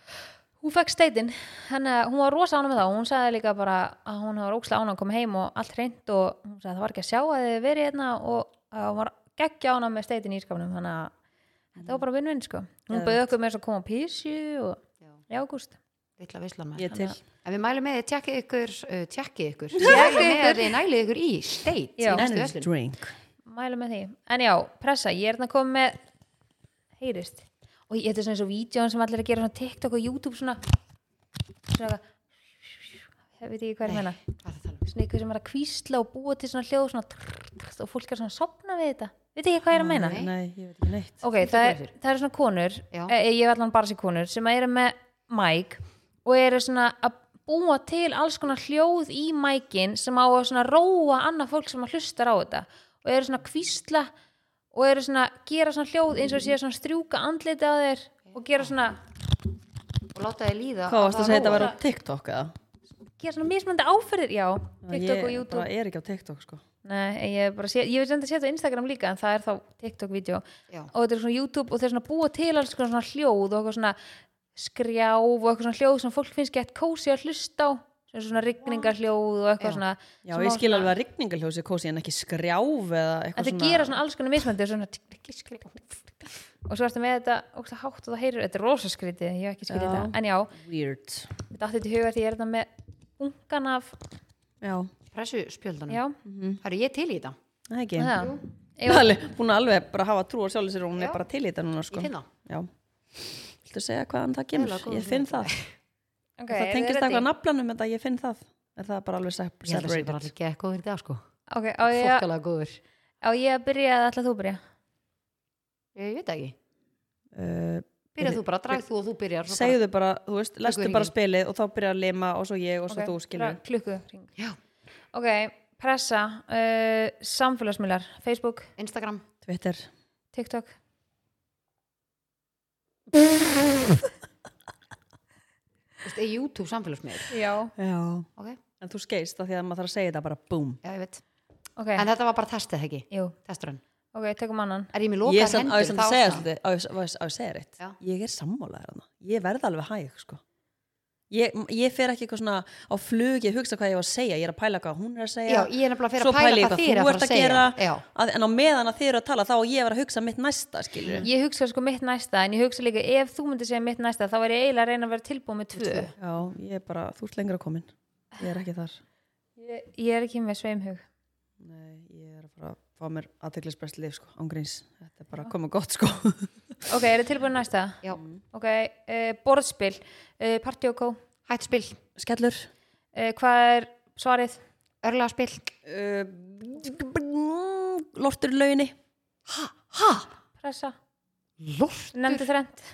B: hún fekk steitin þannig að hún var rosa ánum með það og hún sagði líka bara að hún var ókslega ánum að koma heim og allt reynd og hún sagði að það var ekki að sjá að þið verið hérna og að hún var geggja ánum með steitin í ískapnum þannig að þetta var bara vinn-vinn sko hún
C: Geðveikt.
B: bauði okkur með þess að koma á písju og í ágúst
A: Ítla veisla maður.
C: Ég til.
A: En við mælum með þið, tjekkið ykkur, uh, tjekkið ykkur. Tjekkið ykkur. Þið nælið ykkur í steit.
B: Já.
A: í næstu
C: Energy
A: verslun.
C: drink.
B: mælu með því en já, pressa, ég er hérna komið með heyrist og ég, þetta er svona eins og vídjón sem allir eru að gera svona TikTok og YouTube svona svona eitthvað veit ég hvað er meina
A: Hvað er það að tala um?
B: svona eitthvað sem er að kvísla og búa til svona hljóð svona trrr, trrr, og fólk er svona að sopna við þetta veit ekki hvað ég er að meina
A: Nei.
C: Nei, ég veit ekki neitt.
B: ok, það er, það er svona konur
A: Já.
B: e, ég er allan bara sér konur sem eru með mæk og eru svona að búa til alls konar hljóð í mækin sem á að svona róa annað fólk sem að hlustar á þetta og eru svona að kvísla og eru svona að gera svona hljóð eins og séu svona að strjúka andliti á þeir og gera svona,
A: um? Og láta þið líða.
C: Hvað varst að segja þetta
A: róar.
C: var á TikTok eða?
B: gera svona mismöndi áferðir já, TikTok og
C: Ég
B: YouTube
C: bara er ekki á TikTok sko.
B: Nei, ég hef bara sé, ég veit sem þetta séð á Instagram líka en það er þá TikTok-vídeó
A: Já.
B: og þetta er svona YouTube og þeir svona búa til alls konar svona hljóð og eitthvað svona skrjáf og eitthvað svona hljóð sem fólk finnst gett kósi að hlusta á sem svona rigningarhljóð og eitthvað svona
C: Já,
B: smá
C: ég skil
B: svona-
C: alveg að rigningaljósi kósi en ekki skrjáf eða
B: en
C: eitthvað
B: þeir gera svona alls konar mismöndi og svona tikk, tikk, tikk, skrjáf. [laughs] og svo ertu með þetta ógsta hátt og það heyrir, þetta er rosa skrítið ég hef ekki skrítið
C: Já.
B: þetta, en já,
C: Weird.
B: þetta átti til huga því ég er þetta með ungan af,
C: Já,
A: Pressu spjöldunum.
B: já,
C: Mm.
A: Mhm. Herru, ég er til í þetta.
C: það ekki.
B: það Eigum-
C: alveg, búin að alveg bara hafa trú á sjálfur sér og hún
A: Já.
C: er bara til í þetta núna sko.
A: Ég finn það.
C: Já. Viltu segja hvaðan það kemur?
A: Eiginlega góð
C: Ég finn
A: hugmynd.
C: það.
B: Ok,
C: það
B: eruð þið
C: tengist
B: ready?
C: eitthvað naflanum þetta, ég finn það. Er það bara alveg sep-
A: Ég held að það sé bara
C: separated?
A: allir gekk góður í dag sko
B: Ok, á ég, að-
A: Fólkalega góður
B: á ég að byrja eða ætla þú að byrja?
A: Ég veit það ekki
C: Uh,
A: Byrja þú bara, drag þú og þú byrjar svo bara-
C: segðu bara, þú veist, lestu
A: hringinn.
C: bara spilið og þá byrjar að lima og svo ég og svo
B: Ok,
C: þú skilur.
B: ra- Klukku, ring.
A: Já,
B: Ok, pressa, uh, samfélagsmiðlar, Facebook,
A: Instagram
C: Twitter.
B: TikTok.
A: Þú veist, er YouTube samfélagsmiður
B: Já.
C: Já.
A: Ok,
C: En þú skeist það því að maður þarf að segja þetta bara boom.
A: já ég veit
B: Ok,
A: En þetta var bara testið það ekki,
B: jú,
A: testurinn
B: ok, tökum annan.
A: Er ég með
C: Ég
A: lokar
C: er samt- á
A: hendur
C: ég samt að segja svolítið, á ég- á ég á ég að segja rétt.
A: Já.
C: Ég er sammálaður hana. Ég verð alveg hæg, sko. Ég, ég fer ekki eitthvað svona á flug, ég hugsa hvað ég var að segja, ég er að pæla hvað hún er að segja.
A: Já, ég er nefnilega að fyrir
C: Svo
A: að pæla
C: pæli ég
A: hvað
C: hvað
A: þér
C: þú
A: er að
C: ert
A: fara að
C: að
A: segja
C: gera.
A: Já,
C: að, en á meðan að þið eru að tala þá á ég að vera að hugsa mitt næsta skilur
B: Ég hugsa sko mitt næsta, en ég hugsa líka ef þú myndir segja mitt næsta, þá er ég eiginlega að reyna að vera tilbúið með tvö.
C: já, ég er bara, þú ert lengra komin ég er ekki þar
B: Ég, ég er ekki með sveimhug.
C: Nei, ég er að fara að fá mér aðteglisbrest lif sko, ángríns, þetta er bara að koma gott sko
B: Ok, er þið tilbúin næsta?
A: já
B: Ok, uh, borðspil, uh, party og kó,
A: Hætt spil,
C: [laughs] skellur
B: uh, hvað er svarið?
A: örlega spil
C: uh, lortur í lauginni
A: Ha?
B: Pressa,
A: Lortur,
B: nefndi þrend.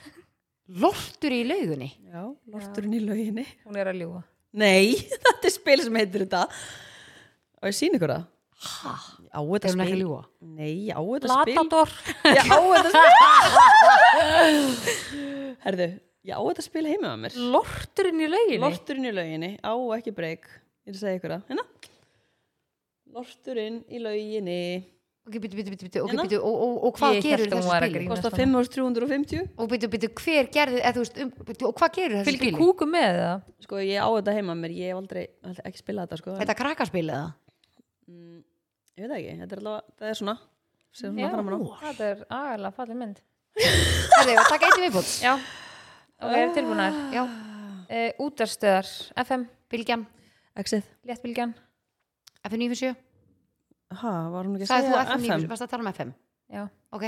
A: lortur í laugunni
C: já, lorturinn í lauginni
B: Hún er að ljúa.
C: nei, [laughs] þetta er spil sem heitir þetta og ég sýn ykkur það
A: Ha?
C: á þetta
A: Er hún ekki að
C: spil
A: ljúga?
C: nei, á þetta spil
B: Latador.
C: ég á þetta spil herðu, ég á þetta spil heima með mér
B: Lorturinn í lauginni.
C: Lorturinn í lauginni, á og ekki breyk Ég er að segja ykkur það, hérna Lorturinn í lauginni
A: Ok, býtu, býtu, býtu, býtu, ok,
C: Hérna?
A: býtu, og, og, og hvað
B: Ég hélt
A: gerur
B: að hún
A: þessu
B: var að
A: spili?
B: grínast.
C: Kosta 5.350
A: Og býtu, býtu, hver gerði, eða þú veist, um, býtu, og hvað gerur þessu
B: Fylgir
A: spili?
B: kúku með það.
C: Sko, ég á þetta heima með mér, ég hef aldrei, aldrei ekki spilað þetta sko en-
A: Þetta er krakkaspil eða?
C: mm, Ég veit það ekki, þetta er allavega, það er svona Sér svona
B: Já.
C: fram á ná
B: Það er agalega fallið mynd.
A: Herði, ég var að taka eitt í viðbót.
B: Já. Ok, er tilbúinar.
A: Já,
B: Uh, útarstöðar, FM,
A: Bilgjan,
C: Exit
B: léttbylgjan.
A: F957.
C: Ha, var hún ekki að
A: Sæði þú
C: segja
A: F957,
C: FM?
A: varst að tala um FM?
B: Já.
A: Ok,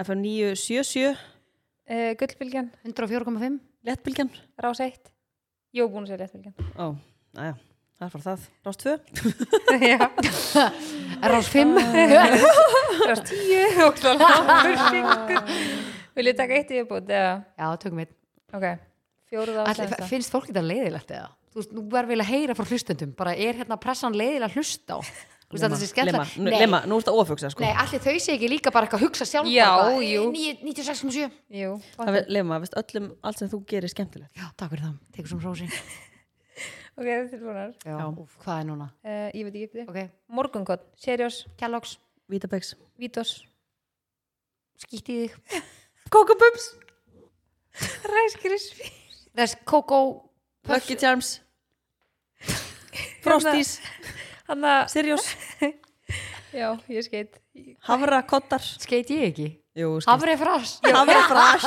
C: FM 977,
B: Uh, gullbylgjan,
A: 104,5.
C: Lettbylgjan
B: rás 1. Jó, búin að segja léttbylgjan.
C: Ó, næja, það er bara það Rást 2
B: Já.
A: Rás [laughs] 5.
B: Rás 10 [laughs] og það langur syngur. Viljið taka eitt í viðbútt eða?
A: Já, tökum við.
B: Ok. Fjóruð á
A: Ætli,
B: slæmsta.
A: Finnst fólk þetta leiðilegt eða? Þú veist, nú verður vel að heyra frá hlustendum. Bara er hérna pressan leiðilega að hlusta á? Þú veist, þetta sé
C: Lema,
A: skemmtilega.
C: nú- Lema, nú ertu að ofugsa sko
A: Nei, allir þau sé ekki líka bara eitthvað að hugsa sjálf
B: Já,
A: bara, eitthvað,
B: jú.
A: eh, níu- 96,7
B: Jú.
C: Það er- Lema, veist öllum, allt sem þú gerir er skemmtilegt
A: Já, takk fyrir það, tekur svona rósin
B: Ok, það er tilbúinar.
A: Já, úf, hvað er núna?
B: Uh, ég veit ekki eftir.
A: Ok,
B: Morgunkott, Seriós,
A: Kellogg's,
C: Vítabeks
B: Vítos,
A: skýtt í þig
C: Kókabubs
B: Ræskirisfi.
A: Þess, Coco
C: Lucky
B: [laughs]
C: Charms Frosties,
B: Hérna. Hanna,
C: Sirius,
B: já, ég skeit.
C: Havrakottar
A: Skeit ég ekki?
C: Jú, skemmt.
A: Hafri fras
B: [laughs]
C: Hafrafras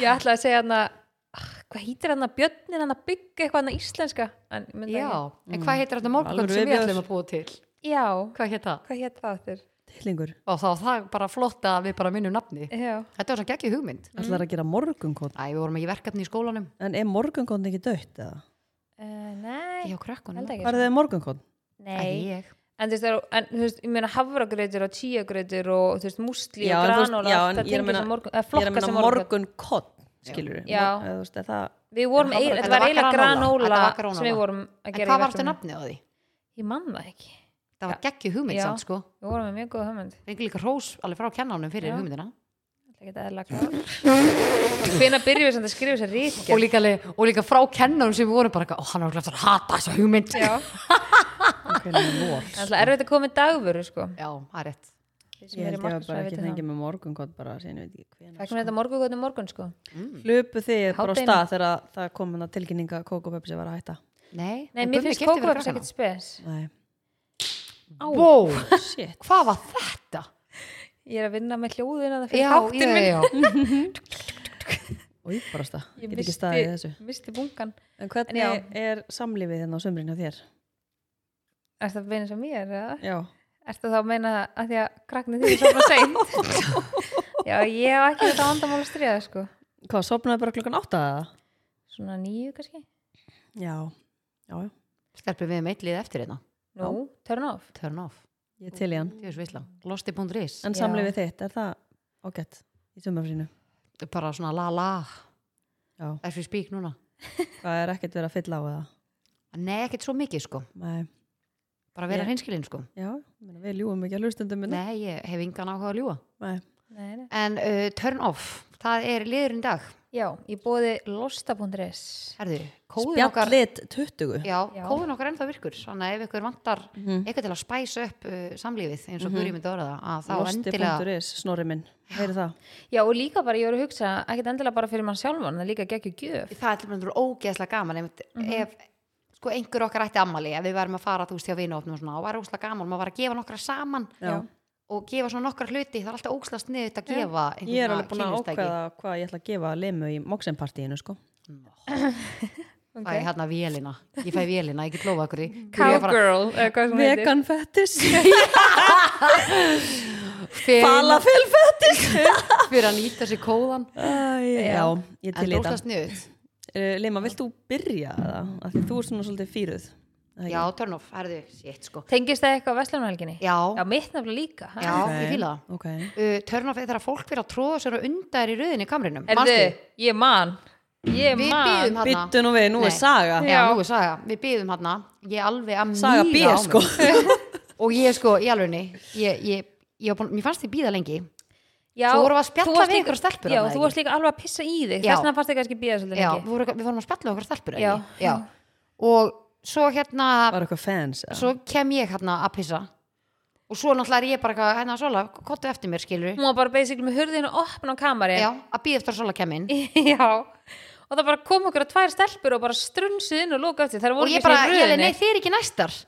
B: Ég ætla að segja hann að, hvað hýtir hann að björnin hann að byggja eitthvað hann að íslenska? En, ég myndi
A: Já, Mm.
B: ekki.
A: en hvað heitir þetta morgun
C: Alvöru
A: sem við
C: viðbjóður.
A: ætlum að búa til?
B: Já,
A: Hvað heit það?
B: hvað hétt það áttur?
C: Tillingur,
A: Og þá var það bara flott að við bara minnum nafni
B: Já,
A: Þetta var svona geggjum hugmynd
B: Mm.
C: ætlar að gera morgunkott
A: Æ, við vorum ekki í verkefni í skólanum
C: En er morgunkott ekki dött eða?
B: uh, nei,
A: Ég á krökkunum
B: held ekki.
C: Hvað er það morgunkott?
A: Ekki
B: Nei,
A: ég
B: en þú veist, það eru- en, þú veist, ég meina havragrautur og tíagrautur og þú veist, musli
C: Já,
B: og
C: en þú veist-
B: granóla,
C: já,
B: allt það
C: en ég er að
B: tengir
C: meina-
B: sem morgun, eða
C: Ég er að
B: flokka
C: menna
B: sem morgun.
C: morgunkott skilur við
B: Já.
C: Mor- eða þú veist, er það,
B: Við vorum,
C: En
B: eiginlega-
C: hafragrautur-
B: þetta var
A: Þetta var
B: eiginlega
A: granóla.
B: granóla
A: Þetta var
B: sem við
A: granóla.
B: vorum að
A: En
B: gera í
A: hvað var þetta
B: verkefninu.
A: nafni á því?
B: Ég man það ekki.
A: Það var
B: Já.
A: geggjum hugmynd
B: Já.
A: samt sko
B: Við vorum með mjög góða höfmynd.
A: Fengi líka hrós alveg frá kennanum fyrir
B: Já.
A: hugmyndina
B: Það er ekki eðla klár. Hvenær byrjum við samt að skrifa þessar
A: og
B: rítkjær?
A: líka, alveg- og líka frá kennanum sem við vorum bara eitthvað, Ó, hann er okkur eftir að hata þessa hugmynd
B: Já,
C: ok, nema vor.
B: það er alltaf erfitt að koma með dagvöru, sko.
A: Já, það er rétt
B: Þeir sem eru
C: Ég held ég að bara
B: markaðsvæði
C: ekki
B: vita það.
C: þengi með morgunkott bara síðan ég veit ekki hvenær
B: Fækkum við þetta morgugotni morgun sko
C: Hlupu þið bara á
B: Hádeginu.
C: stað þegar að það kom hana tilkynninga kókabubsi var að hætta
A: Nei,
B: Nei,
A: en
B: mér
A: Gummi
B: finnst
A: keypti fyrir
B: kókaböps
A: krakkana.
B: ekkert spes
C: Nei,
A: Wow,
C: shit
A: hvað var þetta?
B: Ég er að vinna með hljóðina það fyrir
A: Já, já,
B: þáttin [laughs]
A: já, já.
C: Og ég bara stað,
B: Ég
C: get ekki
B: missti-
C: staðið í þessu
B: minn Misti bunkan
C: En hvernig
B: já.
C: er samlífið hérna á sumrin á þér?
B: Er það beina sem ég er? eða?
C: Já,
B: Ertu þá að meina að því að kraknið [laughs] því er svona seint? Já, ég hef ekki þetta vandamál að stríða, sko.
C: Hvað, sopnaði bara klukkan átta eða?
B: Svona nýju kannski?
C: Já, já, já.
A: Stelpum við með eitt lið eftir hérna
B: Nú, turn off.
A: Turn off,
C: Ég til í hann.
A: ég er svisla Losti.is,
C: En
B: Já.
C: samlefið þitt, er það ágætt í sumarfrínu?
A: bara svona la la
C: Já.
A: As we speak núna
C: Það er ekkert verið að fylla á það.
A: Nei, ekkert svo mikið sko,
C: Nei,
A: bara vera
C: Ég-
A: hreinskilin sko
C: já, ég meina, við ljúum ekki að hlustundum minna.
A: Nei, ég hef engan áhuga að ljúa
C: Nei.
B: Nei, nei.
A: En uh, turn off, það er liðurinn í dag
B: Já, ég bóði losta.is.
A: Herðu, kóðin okkar
C: Spjallit 20.
A: Já,
B: Já.
A: kóðin okkar ennþá virkur Þannig að ef ykkur vantar
C: Mhm.
A: eitthvað til að spæsa upp uh, samlífið eins og mm -hmm. myndi orða það að þá endilega
C: Losti.is, snorri minn. Heyrðu það.
B: Já, og líka bara, ég voru að hugsa, ekkert endilega bara fyrir mann sjálfan, það er líka geggjur gjöf.
A: það er til myndur ógeðslega gaman einmitt, ef sko einhver okkar ætti ammali ef við værum að fara þú veist hjá vinofnum og svona og var ógeðslega gaman, maður var að gefa nokkra saman
C: Já.
A: og gefa svona nokkra hluti, það er alltaf ógeðslega sniðut að gefa einhvern
C: Ég er alveg búin að
A: kynlífstæki.
C: ákveða hvað ég ætla að gefa limu í moksenpartíinu, sko.
A: fæ ég hérna vélina, ég fæ vélina, ég get lofa ykkur því Ég er bara-
B: Cowgirl, eða hvað sem hún heitir.
C: Vegan
A: [laughs]
C: fettis.
A: fyrir,
C: Falafel fettis.
A: fyrir að nýta sér kóðan
C: Já, ég
A: en
C: til í þetta.
A: ógeðslega sniðut
C: Uh, Lima, vilt þú byrja það? Af því þú er svona svolítið fýruð.
A: já, turn off, herðu, shit sko
B: Tengist það eitthvað á Vestlunarhelginni?
A: já,
B: Já, mitt nefnilega líka. ha?
A: já, ég fíla það
C: Ok.
A: uh, turn off er þegar fólk fyrir að tróða sér og undar í röðinni í kamrinum
B: Erðu,
A: Manstu?
B: ég man. Ég
A: við
B: man.
A: býðum hérna
C: Byttu nú við, nú er
A: Nei.
C: saga.
A: Já, nú er saga, við býðum hérna Ég alveg að
C: Saga B,
A: mýga á
C: sko.
A: mig [laughs] Og ég sko, í alvegni ég, ég, ég, var búin, Mér fannst þið býða lengi
B: Já,
A: Þú voru að spjalla
B: þú
A: við
B: varst líka-
A: einhverjar stelpur
B: Já,
A: þarna,
B: þú
A: ekki?
B: varst líka alveg að pissa í
A: Já.
B: þig, þess vegna fannst þið kannski bíða svolítið
A: Já,
B: lengi.
A: við, voru, við vorum að spjalla okkur stelpur ekki?
B: Já.
A: Já. Og svo hérna
C: Var eitthvað fans? eða?
A: Svo kem ég hérna að pissa Og svo náttúrulega er ég bara eitthvað, hérna Sola, kottu eftir mér skilur
B: hún var bara basically með hurðinu opna á kamari
A: Já, að býða eftir að Sola kem inn
B: [laughs] Já. og það bara kom okkur að tvær stelpur og bara strunsuð inn og loka eftir
A: Og
B: þær voru
A: ég
B: ekki
A: bara,
B: svona í
A: ég alveg, nei,
B: röðinni
A: þið er ekki næstar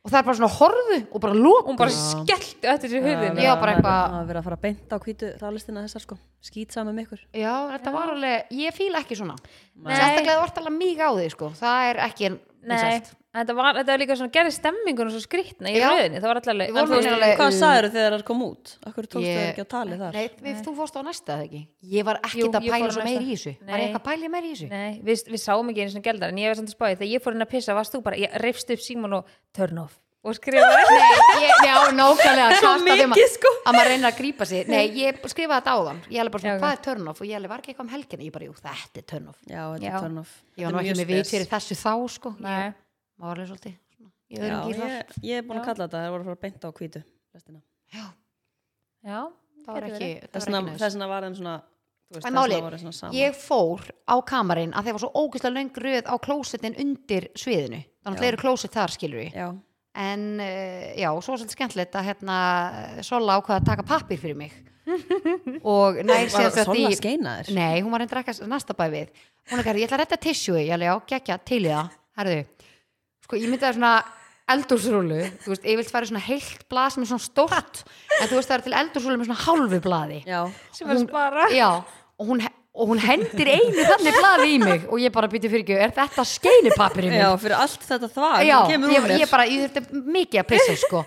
A: Og það er bara svona horfu og bara lóku
B: hún bara skellti eftir sér hurðinu
A: Já,
B: já.
A: var bara eitthvað-
C: Að vera að fara að beinta á hvítu rálistina þessar, sko. Skýt saman með ykkur.
A: Já, þetta var alveg, ég fíla ekki svona
B: Nei.
A: Sérstaklega þú ert alveg mýg á þig, sko Það er ekki
B: nei,
A: vinsælt.
B: þetta var, þetta var líka svona gerði stemmingun og svo skrýtna í
A: Já.
B: röðinu það var alltaf
A: Við
B: leið
A: vorum
B: alveg-
A: alveg- Nei,
C: Hvað
A: um,
C: sagður þegar það kom út? Akkur tókstu
A: Ég-
C: ég... ekki á tali þar?
A: Nei, við, þú fórst á næsta eða ekki Ég var
B: Jú,
A: ekkert að
B: ég
A: pæla
B: fór á
A: svo
B: næsta.
A: meir í þessu Var
B: Nei.
A: ég eitthvað að pæla meir í þessu?
B: Nei, við, við sáum ekki einu svona geldar en ég var samt að spáði þegar ég fór inn að pissa varst þú bara, ég reyfst upp síman og turn off og skrifaði
A: Ég, já, nákvæmlega [laughs]
C: Svo
A: kasta þeim að-
C: mikið, sko.
A: Að maður reyna að grípa sig Nei, ég skrifaði þetta áðan Ég hefði bara svona,
B: Já,
A: hvað er turn off? Og ég hefði var ekki eitthvað um helgina Ég bara, jú, þetta er turn off
C: Já, þetta
B: Já.
C: er turn off.
A: Ég var nú ekki með vit fyrir þessu þá, sko Ég
B: Nei.
A: var alveg svolítið svona, Ég
C: Já,
A: öðrum gýr þar
C: ég, ég er búin að kalla þetta. Það voru að fara að beinta á hvítu rálistina.
A: Já,
B: já,
A: það var
B: getur
A: ekki,
B: verið.
A: það
C: Þess
A: var
C: vegna
A: ekki
C: þess vegna var þeim svona... þú veist,
A: En
C: þess vegna
A: málið,
C: voru svona saman.
A: ég fór á kamarinn að þeir var svo ógeðslega löng röð á klósetin undir sviðinu þannig að
C: Já.
A: þeir eru klóset þar skilur við
C: Já.
A: en uh, já, svo var svolítið skemmtilegt að hérna, Sola ákvaða að taka pappir fyrir
C: [laughs]
A: mig og nær sem
C: Var
A: sagt í-
C: Sola skeinaðir?
A: nei, hún var reyndar ekki að næsta bæ við hún er ekki, ég ætla að retta tissue ég alveg á, gekkja, til í það herðu, sko, ég myndi það svona eldursrúlu, þú veist, ég vilt fara í svona heilt blað sem er svona stórt en þú veist það er til eldursrúlu með svona hálfu blaði
C: Já.
B: sem var spara
A: Já, og hún, og hún hendir einu þannig blaði í mig og ég bara býti fyrir ekki, er þetta skeinipapir í mig?
C: Já, fyrir allt þetta þvar,
A: Já,
C: kemur úr
A: ég,
C: mér.
A: ég bara, ég þurfti mikið að pissa sko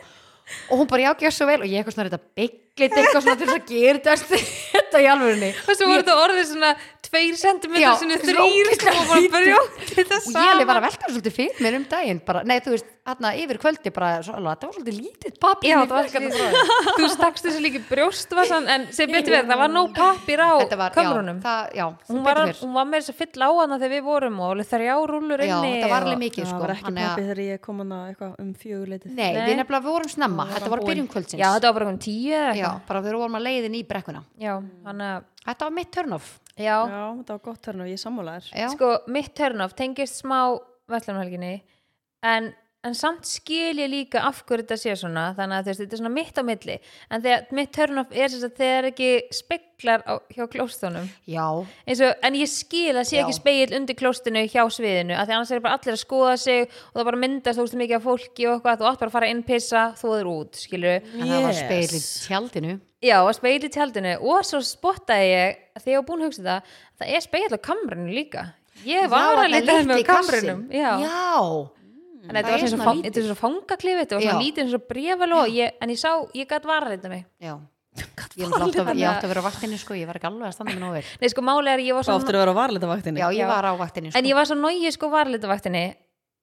A: og hún bara, já, gjör svo vel og ég eitthvað svona þetta bygglit eitthvað svona til þess að gera þetta- [laughs] þetta í alvörunni
B: og svo voru þetta orðið svona tveir
A: Já,
B: sentimentar sinni
A: svona
B: þrýr
A: ógeðslega
B: sko, og bara
A: lítið.
B: brjótti þetta
A: og ég
B: saman
A: alveg var að velta þessu svolítið fyrir mér um daginn bara, nei, þú veist, hérna yfir kvöldi bara, svo, alveg, það var svolítið lítið papir
B: Já, það var ekki þú stakst þessu líka í brjóst var sann, en sem betur verið, það var nóg pappir á
A: þetta var,
B: kamrunum
A: já, það, já, sem
B: hún var,
A: betur fer.
B: hún var með þess að fylla á hana þegar við vorum og alveg þrjá rúllur
A: já,
B: inni
A: þetta var alveg
B: og-
A: mikið
C: Það
A: sko,
C: var ekki
A: þannig að-
C: pappi þegar ég kom hana eitthvað um fjöguleitið.
A: nei,
B: Nei.
A: við nefnilega vorum snemma, þetta var byrjun kvöldsins
B: já, þetta var bara um tíu eða
A: já,
B: eitthvað.
A: bara þegar vorum að leiðin í brekkuna
B: já, hann að
A: Þetta var mitt turn-off
B: já,
C: Já, þetta var gott hérna og ég sammála þér.
A: Já.
B: sko, mitt turn-off tengist smá vestlumhelginni en, en samt skil ég líka af hverju þetta sé svona þannig að þú veist, þetta er svona mitt á milli en þegar mitt turn-off er þess að þegar ekki speklar á, hjá klóstunum
A: Já,
B: eins og, en ég skil að sé
A: Já.
B: ekki spegill undir klóstinu hjá sviðinu að því annars er bara allir að skoða sig og það bara myndast ógstu mikið af fólki og eitthvað þú átt bara að fara inn pissa, þóður út, skilur
A: en það var
C: Yes.
A: speil í tjaldinu
B: já, að spegill í tjaldinu og svo spottaði ég þegar ég var búin að hugsa það það er spegill á kamrinu líka ég var
A: Já,
B: að
A: þarna
B: lítið með
A: litli
B: á kamrinum
A: kassinn.
B: já.
A: Já,
B: en þetta
A: Það
B: var
A: er
B: sem
A: svona
B: svo,
A: lítið.
B: þetta er svo fangaklifi þetta var svona
A: Já.
B: lítið eins og brefaló ég, en ég sá, ég gætt varleita mig
A: já Ég náttúrulega átti að- ég átti að vera á vaktinni sko, ég var ekki alveg að standa með nógu vel
B: nei sko máli er að ég var
C: Svo
B: svo
C: aftur að vera á varlitavaktinni
A: Já,
B: Já.
A: ég var á vaktinni sko
B: en ég var svo nógið sko varleitavaktinni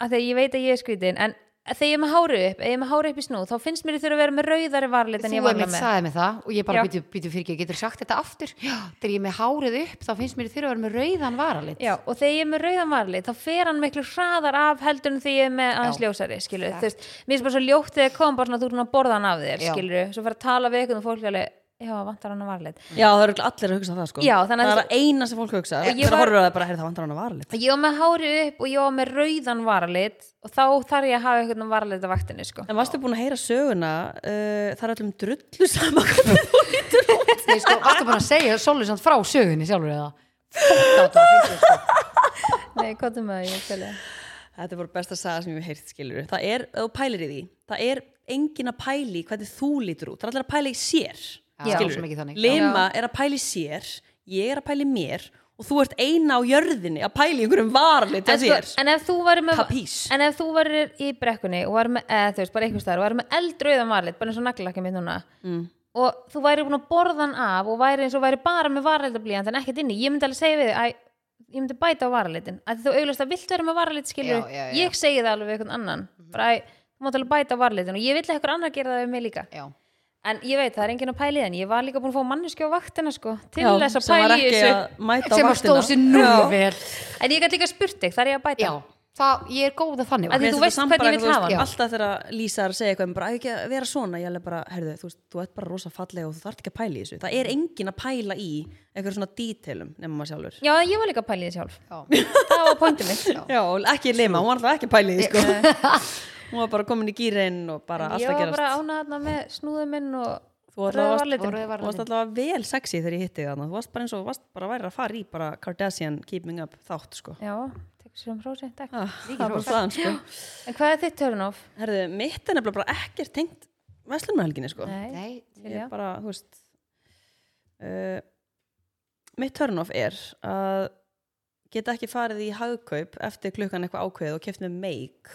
B: að þegar ég veit að ég er skrítin en þegar ég er með hári upp, ef ég er með hári upp í snú þá finnst mér ég þurfa að vera með rauðari varleit en
A: Þú
B: ég var
A: er mitt
B: með
A: sagði mig það og ég bara
B: Já.
A: býtu, býtu fyrir ekki, getur sagt þetta aftur Já, þegar ég er með hárið upp þá finnst mér þurfa að vera með rauðan varalit
B: Já, og þegar ég er með rauðan varlit þá fer hann miklu hraðar af heldur en þegar ég er með aðeins
A: Já.
B: ljósari, skilur
A: Fakt.
B: þú veist, mér finnst bara svo ljótt þegar kom bara svona að þú erum að borða hann af þér,
A: Já.
B: skilur svo fer að tala við eitthvað og fólk er alveg, já, vantar hann að varlit
C: Já, það eru allir að hugsa það sko
B: Já, þannig að
C: Það er að eina sem fólk hugsa
B: Ég
C: Þegar
B: var-
C: horfur að það bara, heyrðu, það vantar hann að varlit
B: og ég var með hári upp og ég var með rauðan varlit og þá þarf ég að hafa eitthvað varlit af vaktinu, sko
C: En varstu búin að heyra söguna uh, Það er öllum drullu sama hvernig þú lítur út
A: Ég er sko alltaf bara að segja Sólur samt frá sögunni sjálfur eða Fótt át að finnst sko.
B: Nei, hvað er með það, ég fæli
C: Þetta er bara besta saga sem ég hef heyrt skilur Það er, ef þú pælir í því Það er engin að pæli hvernig þú lítur út Það er allir að pæli í sér
A: Já,
C: skilurðu.
A: svo mikið þannig.
C: Lima er að pæli sér Ég er að pæli mér Og þú ert eina á jörðinni að pæli í einhverjum varlit
B: en,
C: Það
B: sko,
C: sér
B: en ef þú varir með
C: Tapís.
B: en ef þú varir í brekkunni og varir með, eða þú veist, bara einhvers staðar og varir með eldröðan varlit, bara eins og naglakið mitt núna mm. og þú væri búin að borða hann af og væri eins og væri bara með varlitablíjant en ekkert inni, ég myndi alveg segja við þig að ég myndi bæta á varlitin, að þú auglast að vilt vera með varlit skilur,
A: Já, já, já.
B: ég segi það alveg við einhvern annan, bara að þú mátt alveg bæta á varlitin og ég vill að eitthvað annar gera það við mig líka
A: Já,
B: en ég veit, það er enginn að pæli þenn ég var líka búin að fá manneski á vaktina sko, til
C: Já,
B: þess að
C: sem var
B: pæli
C: ekki
B: þessu
C: að mæta á
A: sem að
C: vaktina.
A: stóð sér nú
C: Já.
A: vel
B: en ég gæti líka spurt þig, þar er ég að bæta
A: Já, það, ég er góð að þannig
B: Að því
C: Mér
B: þú
C: finnst
B: veist
C: þetta
B: hvernig
C: bara
B: ég vil hafa
C: eitthvað,
A: hann.
C: þú veist, alltaf þegar Lísa er að segja eitthvað bara "Á ekki að vera svona, ég er alveg bara herðu, þú, veist, þú ert bara rosa fallega og þú þarft ekki að pæla í þessu það er engin að pæla í einhverjum svona dítelum nema maður sjálfur
B: Já, ég var líka að pæla í því sjálf.
A: Já.
B: Það var pointið mitt.
C: Já, og ekki lima, hún var alltaf ekki að pæla í því sko. [laughs] hún var bara komin í gýrin og bara
B: Ég
C: alltaf
B: var
C: gerast
B: bara ánaðna með snúðum minn og
C: þú
B: rauða
C: alltaf varst,
B: varlitin.
A: Og rauða
C: varst, varst
A: varlitin.
C: alltaf vel sexy þegar ég hitti þig þarna þú varst bara eins og varst bara væri að fara í bara Kardashian keeping up þátt
B: [laughs]
C: sko.
B: já, tekur sér um hrósi, takk.
C: ah, það var bara staðan sko.
B: En hvað er þitt turn off?
C: herðu, mitt er nefnilega bara ekkert tengt veslunarhelginni sko.
B: Nei,
A: Nei,
B: til
C: ég
B: já.
C: er bara, þú veist uh, mitt törnof er að geta ekki farið í hagkaup eftir klukkan eitthvað ákveð og keft með meik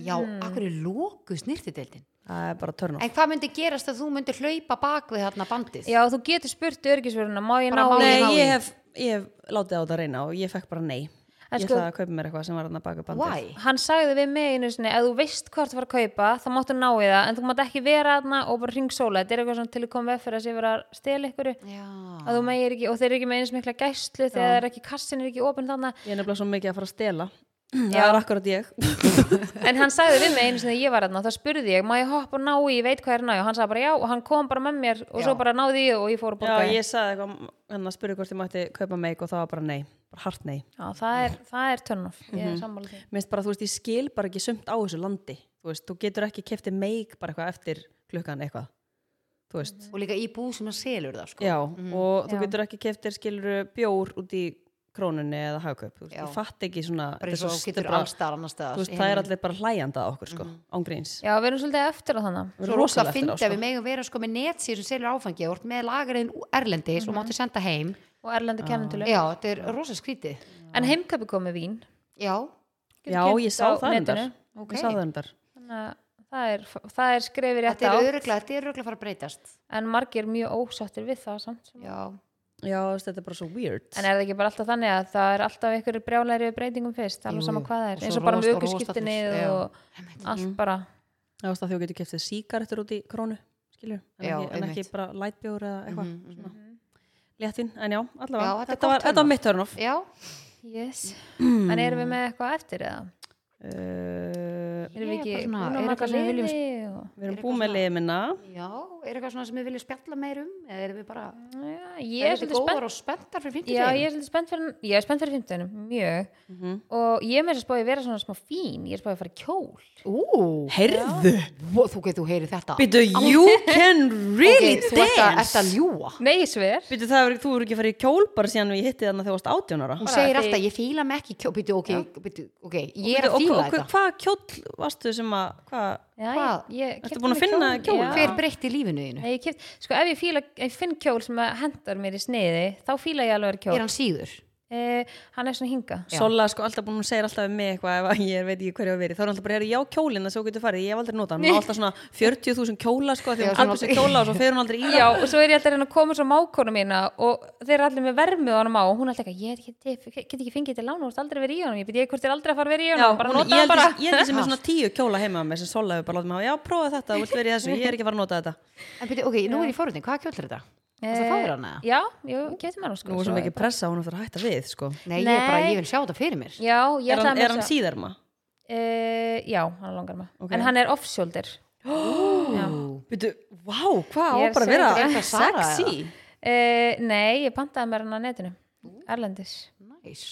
A: já, akkur er lóku snirtideildin
C: það er bara törnof
A: En hvað myndi gerast að þú myndi hlaupa bak við þarna bandið?
B: Já, þú getur spurt örgisverðuna, má ég
A: Bara
B: ná
A: má
B: í
C: nei,
A: ég ná í.
C: ég hef, ég hef látið á þetta að reyna og ég fekk bara nei
B: En
C: ég
B: sko-
C: ætlaði að kaupa mér eitthvað sem var hann að baka bandið
A: Why?
B: Hann sagði við mig einu sinni, ef þú veist hvort þú var að kaupa, þá máttu ná í það, en þú mátt ekki vera aðna og bara ring sóla. Þetta er eitthvað svona til að koma veg fyrir að sé vera að stela ykkuru.
A: Já,
B: Að þú megir ekki, og þeir eru ekki með eins mikla gæslu þegar það er ekki, kassin er ekki opinn þannig
C: ég er nefnilega svo mikið að fara að stela það er akkurat ég
A: [laughs]
B: En hann sagði við mig einu sinni þegar ég var þarna og þá spurði ég, má ég hoppa og ná í, ég veit hvað er að ná í og hann sagði bara já og hann kom bara með mér og
A: Já.
B: svo bara náði ég og ég fór að
C: já,
B: borga
C: ég sagði eitthvað hann að spurði hvort ég mætti kaupa meik og það var bara nei, bara hart nei
B: já, það er, það er törn off, Mhm. ég er sammála því
C: minnst bara, þú veist, ég skil bara ekki sumt á þessu landi, þú veist, þú getur ekki keftið meik bara eitthvað eftir klukkan eitthvað þú veist,
A: og líka í bú sem að selur það sko
C: já og þú
B: Já.
C: getur ekki keftið skilur bjór út í krónunni eða hagkaup, þú veist,
A: Já.
C: ég fatt ekki svona,
A: Bara eins og
C: þetta er svo-
A: þú Mhm. getur
C: þetta er bara-
A: allstar annars
C: þú
A: staðar
C: veist, það er allir bara hlæjanda á okkur, sko, ángríns
B: Já, við erum svolítið eftir á þannig
C: Við
A: Svo
C: erum
A: rosa
C: rosalega
A: að finna
C: eftir á,
A: við megum vera sko með netsýr sem selur áfangi og með lagariðin erlendis
B: Mhm.
A: og máttu senda heim
B: og Erlendi kemmenduleg
A: Já, þetta er rosa skrítið
B: En heimkaupi kom með vín
A: Já,
C: sko. já, ég sá það endar
A: ok
C: ég sá það endar
B: Þannig að það er, það er skrefir rétt
A: Þetta
B: á
A: er öruglega, þetta er öruglega að fara að breytast
B: en margir mjög ósáttir við það samt sem-
A: Já,
C: já, þú veist, þetta er bara svo weird
B: En er það ekki bara alltaf þannig að það er alltaf einhverju brjálæri við breytingum fyrst, alveg
A: Jú,
B: sama
A: jú.
B: hvað
A: Og
B: það er,
A: svo
B: eins og bara með
A: rost og rost aftur.
B: aukurskiptinni
A: Já.
B: og allt bara
C: já, þú veist, að þú getur keftið síkaretur út í krónu skilur, en,
A: Já,
C: ekki,
A: einmitt.
C: en
A: Mhm,
C: ekki bara lightbjór eða eitthvað svona. léttin, en já, allavega
A: Já, þetta er
C: þetta, var,
A: gott
C: þetta var
A: turn-off.
C: mitt törnof
A: já
B: Yes. En erum við með eitthvað eftir eða?
C: uh,
B: Erum við
A: Ég er
B: ekki
A: bara svona,
B: búin að
A: er
B: marka
A: eitthvað sem við viljum-
B: liði? og-
C: Við erum
A: Er
C: búið
A: eitthvað
C: með
A: svona-
C: liðmina
A: Já, er eitthvað svona sem við viljum spjalla meir um eða erum við bara
B: Já, Ég er
A: erum við
B: svolítið spennt
A: góðar og spenntar fyrir fintið
B: Já, ég er svolítið spennt fyrir, ég er spennt fyrir 15, mjög og ég er með þess að spá ég vera svona smá fín ég er spáði að fara í kjól
A: Ú,
C: Heyrðu,
A: vó, þú getur heyrið þetta
C: býtu,
A: [laughs]
C: you can really
A: Ok, Þú ert að- ert
C: dance
A: að ljúa
B: Nei, ég sver
C: Býtu, það er, þú eru ekki að fara í kjól bara síðan við hittið þannig að þú varst 18 ára
A: Hún segir
B: því-
A: alltaf, ég fíla mig ekki í kjó- Býtu, ok, býtu, ok, ég er
C: Bíddu,
A: að
C: og-
A: fíla
C: og-
A: þetta
C: Hvað kjól varstu sem að, hvað
A: Hvað?
B: Ertu
C: búin að finna kjól?
A: Hver breytti lífinu þínu?
B: Nei, ég keft, sko ef ég, fíla, ef ég finn kjól sem að hendar mér í sniði þá fíla ég alveg að
A: Er
B: vera kjól
A: hann síður?
B: eh, hann er svona hinga
C: Sola sko alltaf búin að segja alltaf um mig eitthvað ef að ég veit ekki hverju að verið þá er hann alltaf bara, "Heyrðu, já kjólinn að svo getur farið, ég hef aldrei notað hann [laughs] Hún á alltaf svona 40.000 kjóla sko því
A: Já,
C: hún
A: svona-
C: kaupir sér kjóla og svo fer hún aldrei í
B: Já, og svo er ég alltaf að reyna að koma svo mákonu mína og þeir eru allir með vermið á honum á og hún er alltaf ekki, ég get, get get ekki fengið þetta lána og aldrei verið í honum, ég byrja hvort þér aldrei að fara verið í
C: Já,
B: honum, bara
C: hún-
B: nota
C: ég
B: það bara
C: held ég held ég [laughs] sem er svona tíu kjóla heima með sem Sola hefur bara látið mig hafa, já prófa þetta, þú vilt verið í þessu, ég er ekki að fara að nota þetta
A: En byrju, ok, nú er ég fórhundin, hvaða kjóll er þetta?
B: [laughs]
A: Það er fáður hana?
B: Já, jú, getur maður
C: Nú
B: sko
C: er svo
B: svo-
C: mikið pressa, hún er að hætta við sko
A: Nei, ég er bara,
B: Nei.
A: ég vil sjá þetta fyrir mér.
B: Já, ég
C: Er
B: ætla
C: hann,
B: að
C: er hann síðarma?
B: Uh, já, hann er langar maður
C: Ok.
B: En hann er off-shoulder
C: Veitu, vá, hvað á
B: Ég er
C: bara að
A: þér,
B: að segja
C: vera
A: eitthvað Sara
C: sexy
B: uh, Nei, ég pantaði mér hann á netinu Erlendis
A: Næs.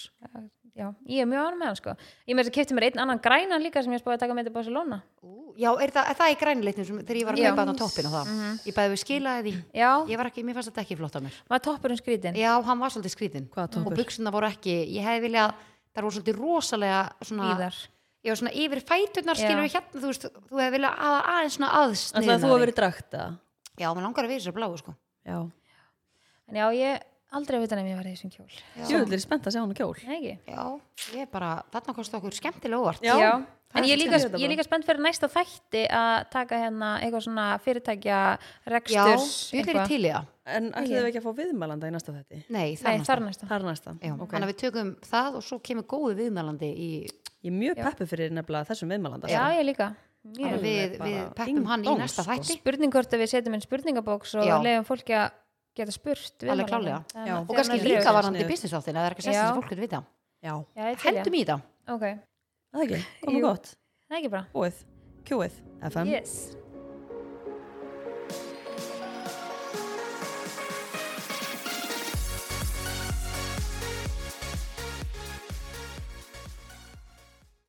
B: Já, ég er mjög ánum með hann sko Ég með þess að kefti mér einn annan grænan líka sem ég spáði að taka með til Barcelona
A: Ú, Já, er það, er það í grænileitnum sem þegar ég var að
B: Já.
A: kaupa þarna á toppin og það. Ég bæði við skilaði því.
B: Já,
A: Ég var ekki, mér fannst þetta ekki flott á mér.
B: maður toppur um skrítin
A: Já, hann var svolítið skrítin.
C: Hvaða
A: Og
C: toppur?
A: buksuna voru ekki, ég hefði viljað, það voru svolítið rosalega svona...
B: Íðar
A: Já, svona yfir fæturnar
B: Já.
A: skilur við hérna, þú veist, þú hefði viljað að, aðeins svona aðsniðna.
C: Ætlaði þú að vera í drakt eða?
A: Já, maður langar að vera sér bláu, sko.
C: Já,
B: En já, ég aldrei veit hann ef ég var í þessum kjól
C: Jöfull er ég spennt að sjá hann á kjól
B: Nei, ekki
A: Já, ég er bara, þarna kosti okkur skemmtilega óvart.
C: Já.
B: En
C: það
B: ég er
C: er
B: líka,
C: skemmtilegt
B: ég er
C: bara.
B: líka spennt fyrir næsta þætti að taka hérna eitthvað svona fyrirtækja
A: Já,
B: reksturs
A: bjöðir í
B: eitthvað.
A: til í það.
C: En ætlaðu ekki að fá viðmælanda í næsta þetti?
A: Nei, sko. það
B: Nei, þar næsta
C: Þar næsta,
A: Já,
C: ok
A: þannig að við tökum það og svo kemur góðu viðmælandi í,
C: Ég er mjög peppu fyrir nefnilega þessum viðmælanda
B: Já, ég líka Mjög.
A: þannig að við,
C: bara
A: við
C: ding
A: peppum hann í
C: dong,
A: næsta
C: sko.
A: þætti.
B: spurning hvort að við setjum inn spurningabóks og
A: Já.
B: leiðum fólki að geta spurt
A: Alveg klárlega.
C: Já.
A: Og kannski
C: Þegar
A: líka
C: maður dregur
A: varandi
C: sig niður.
A: business þáttin, að það er ekki sessið
B: Já.
A: sem fólk vil vita.
C: Já,
B: Já, ég til ég.
A: Heldum í það.
B: Ok,
C: það ekki, komum
B: Jú.
C: gott
B: það er ekki bara
C: Búið, kjúið, FM
B: Yes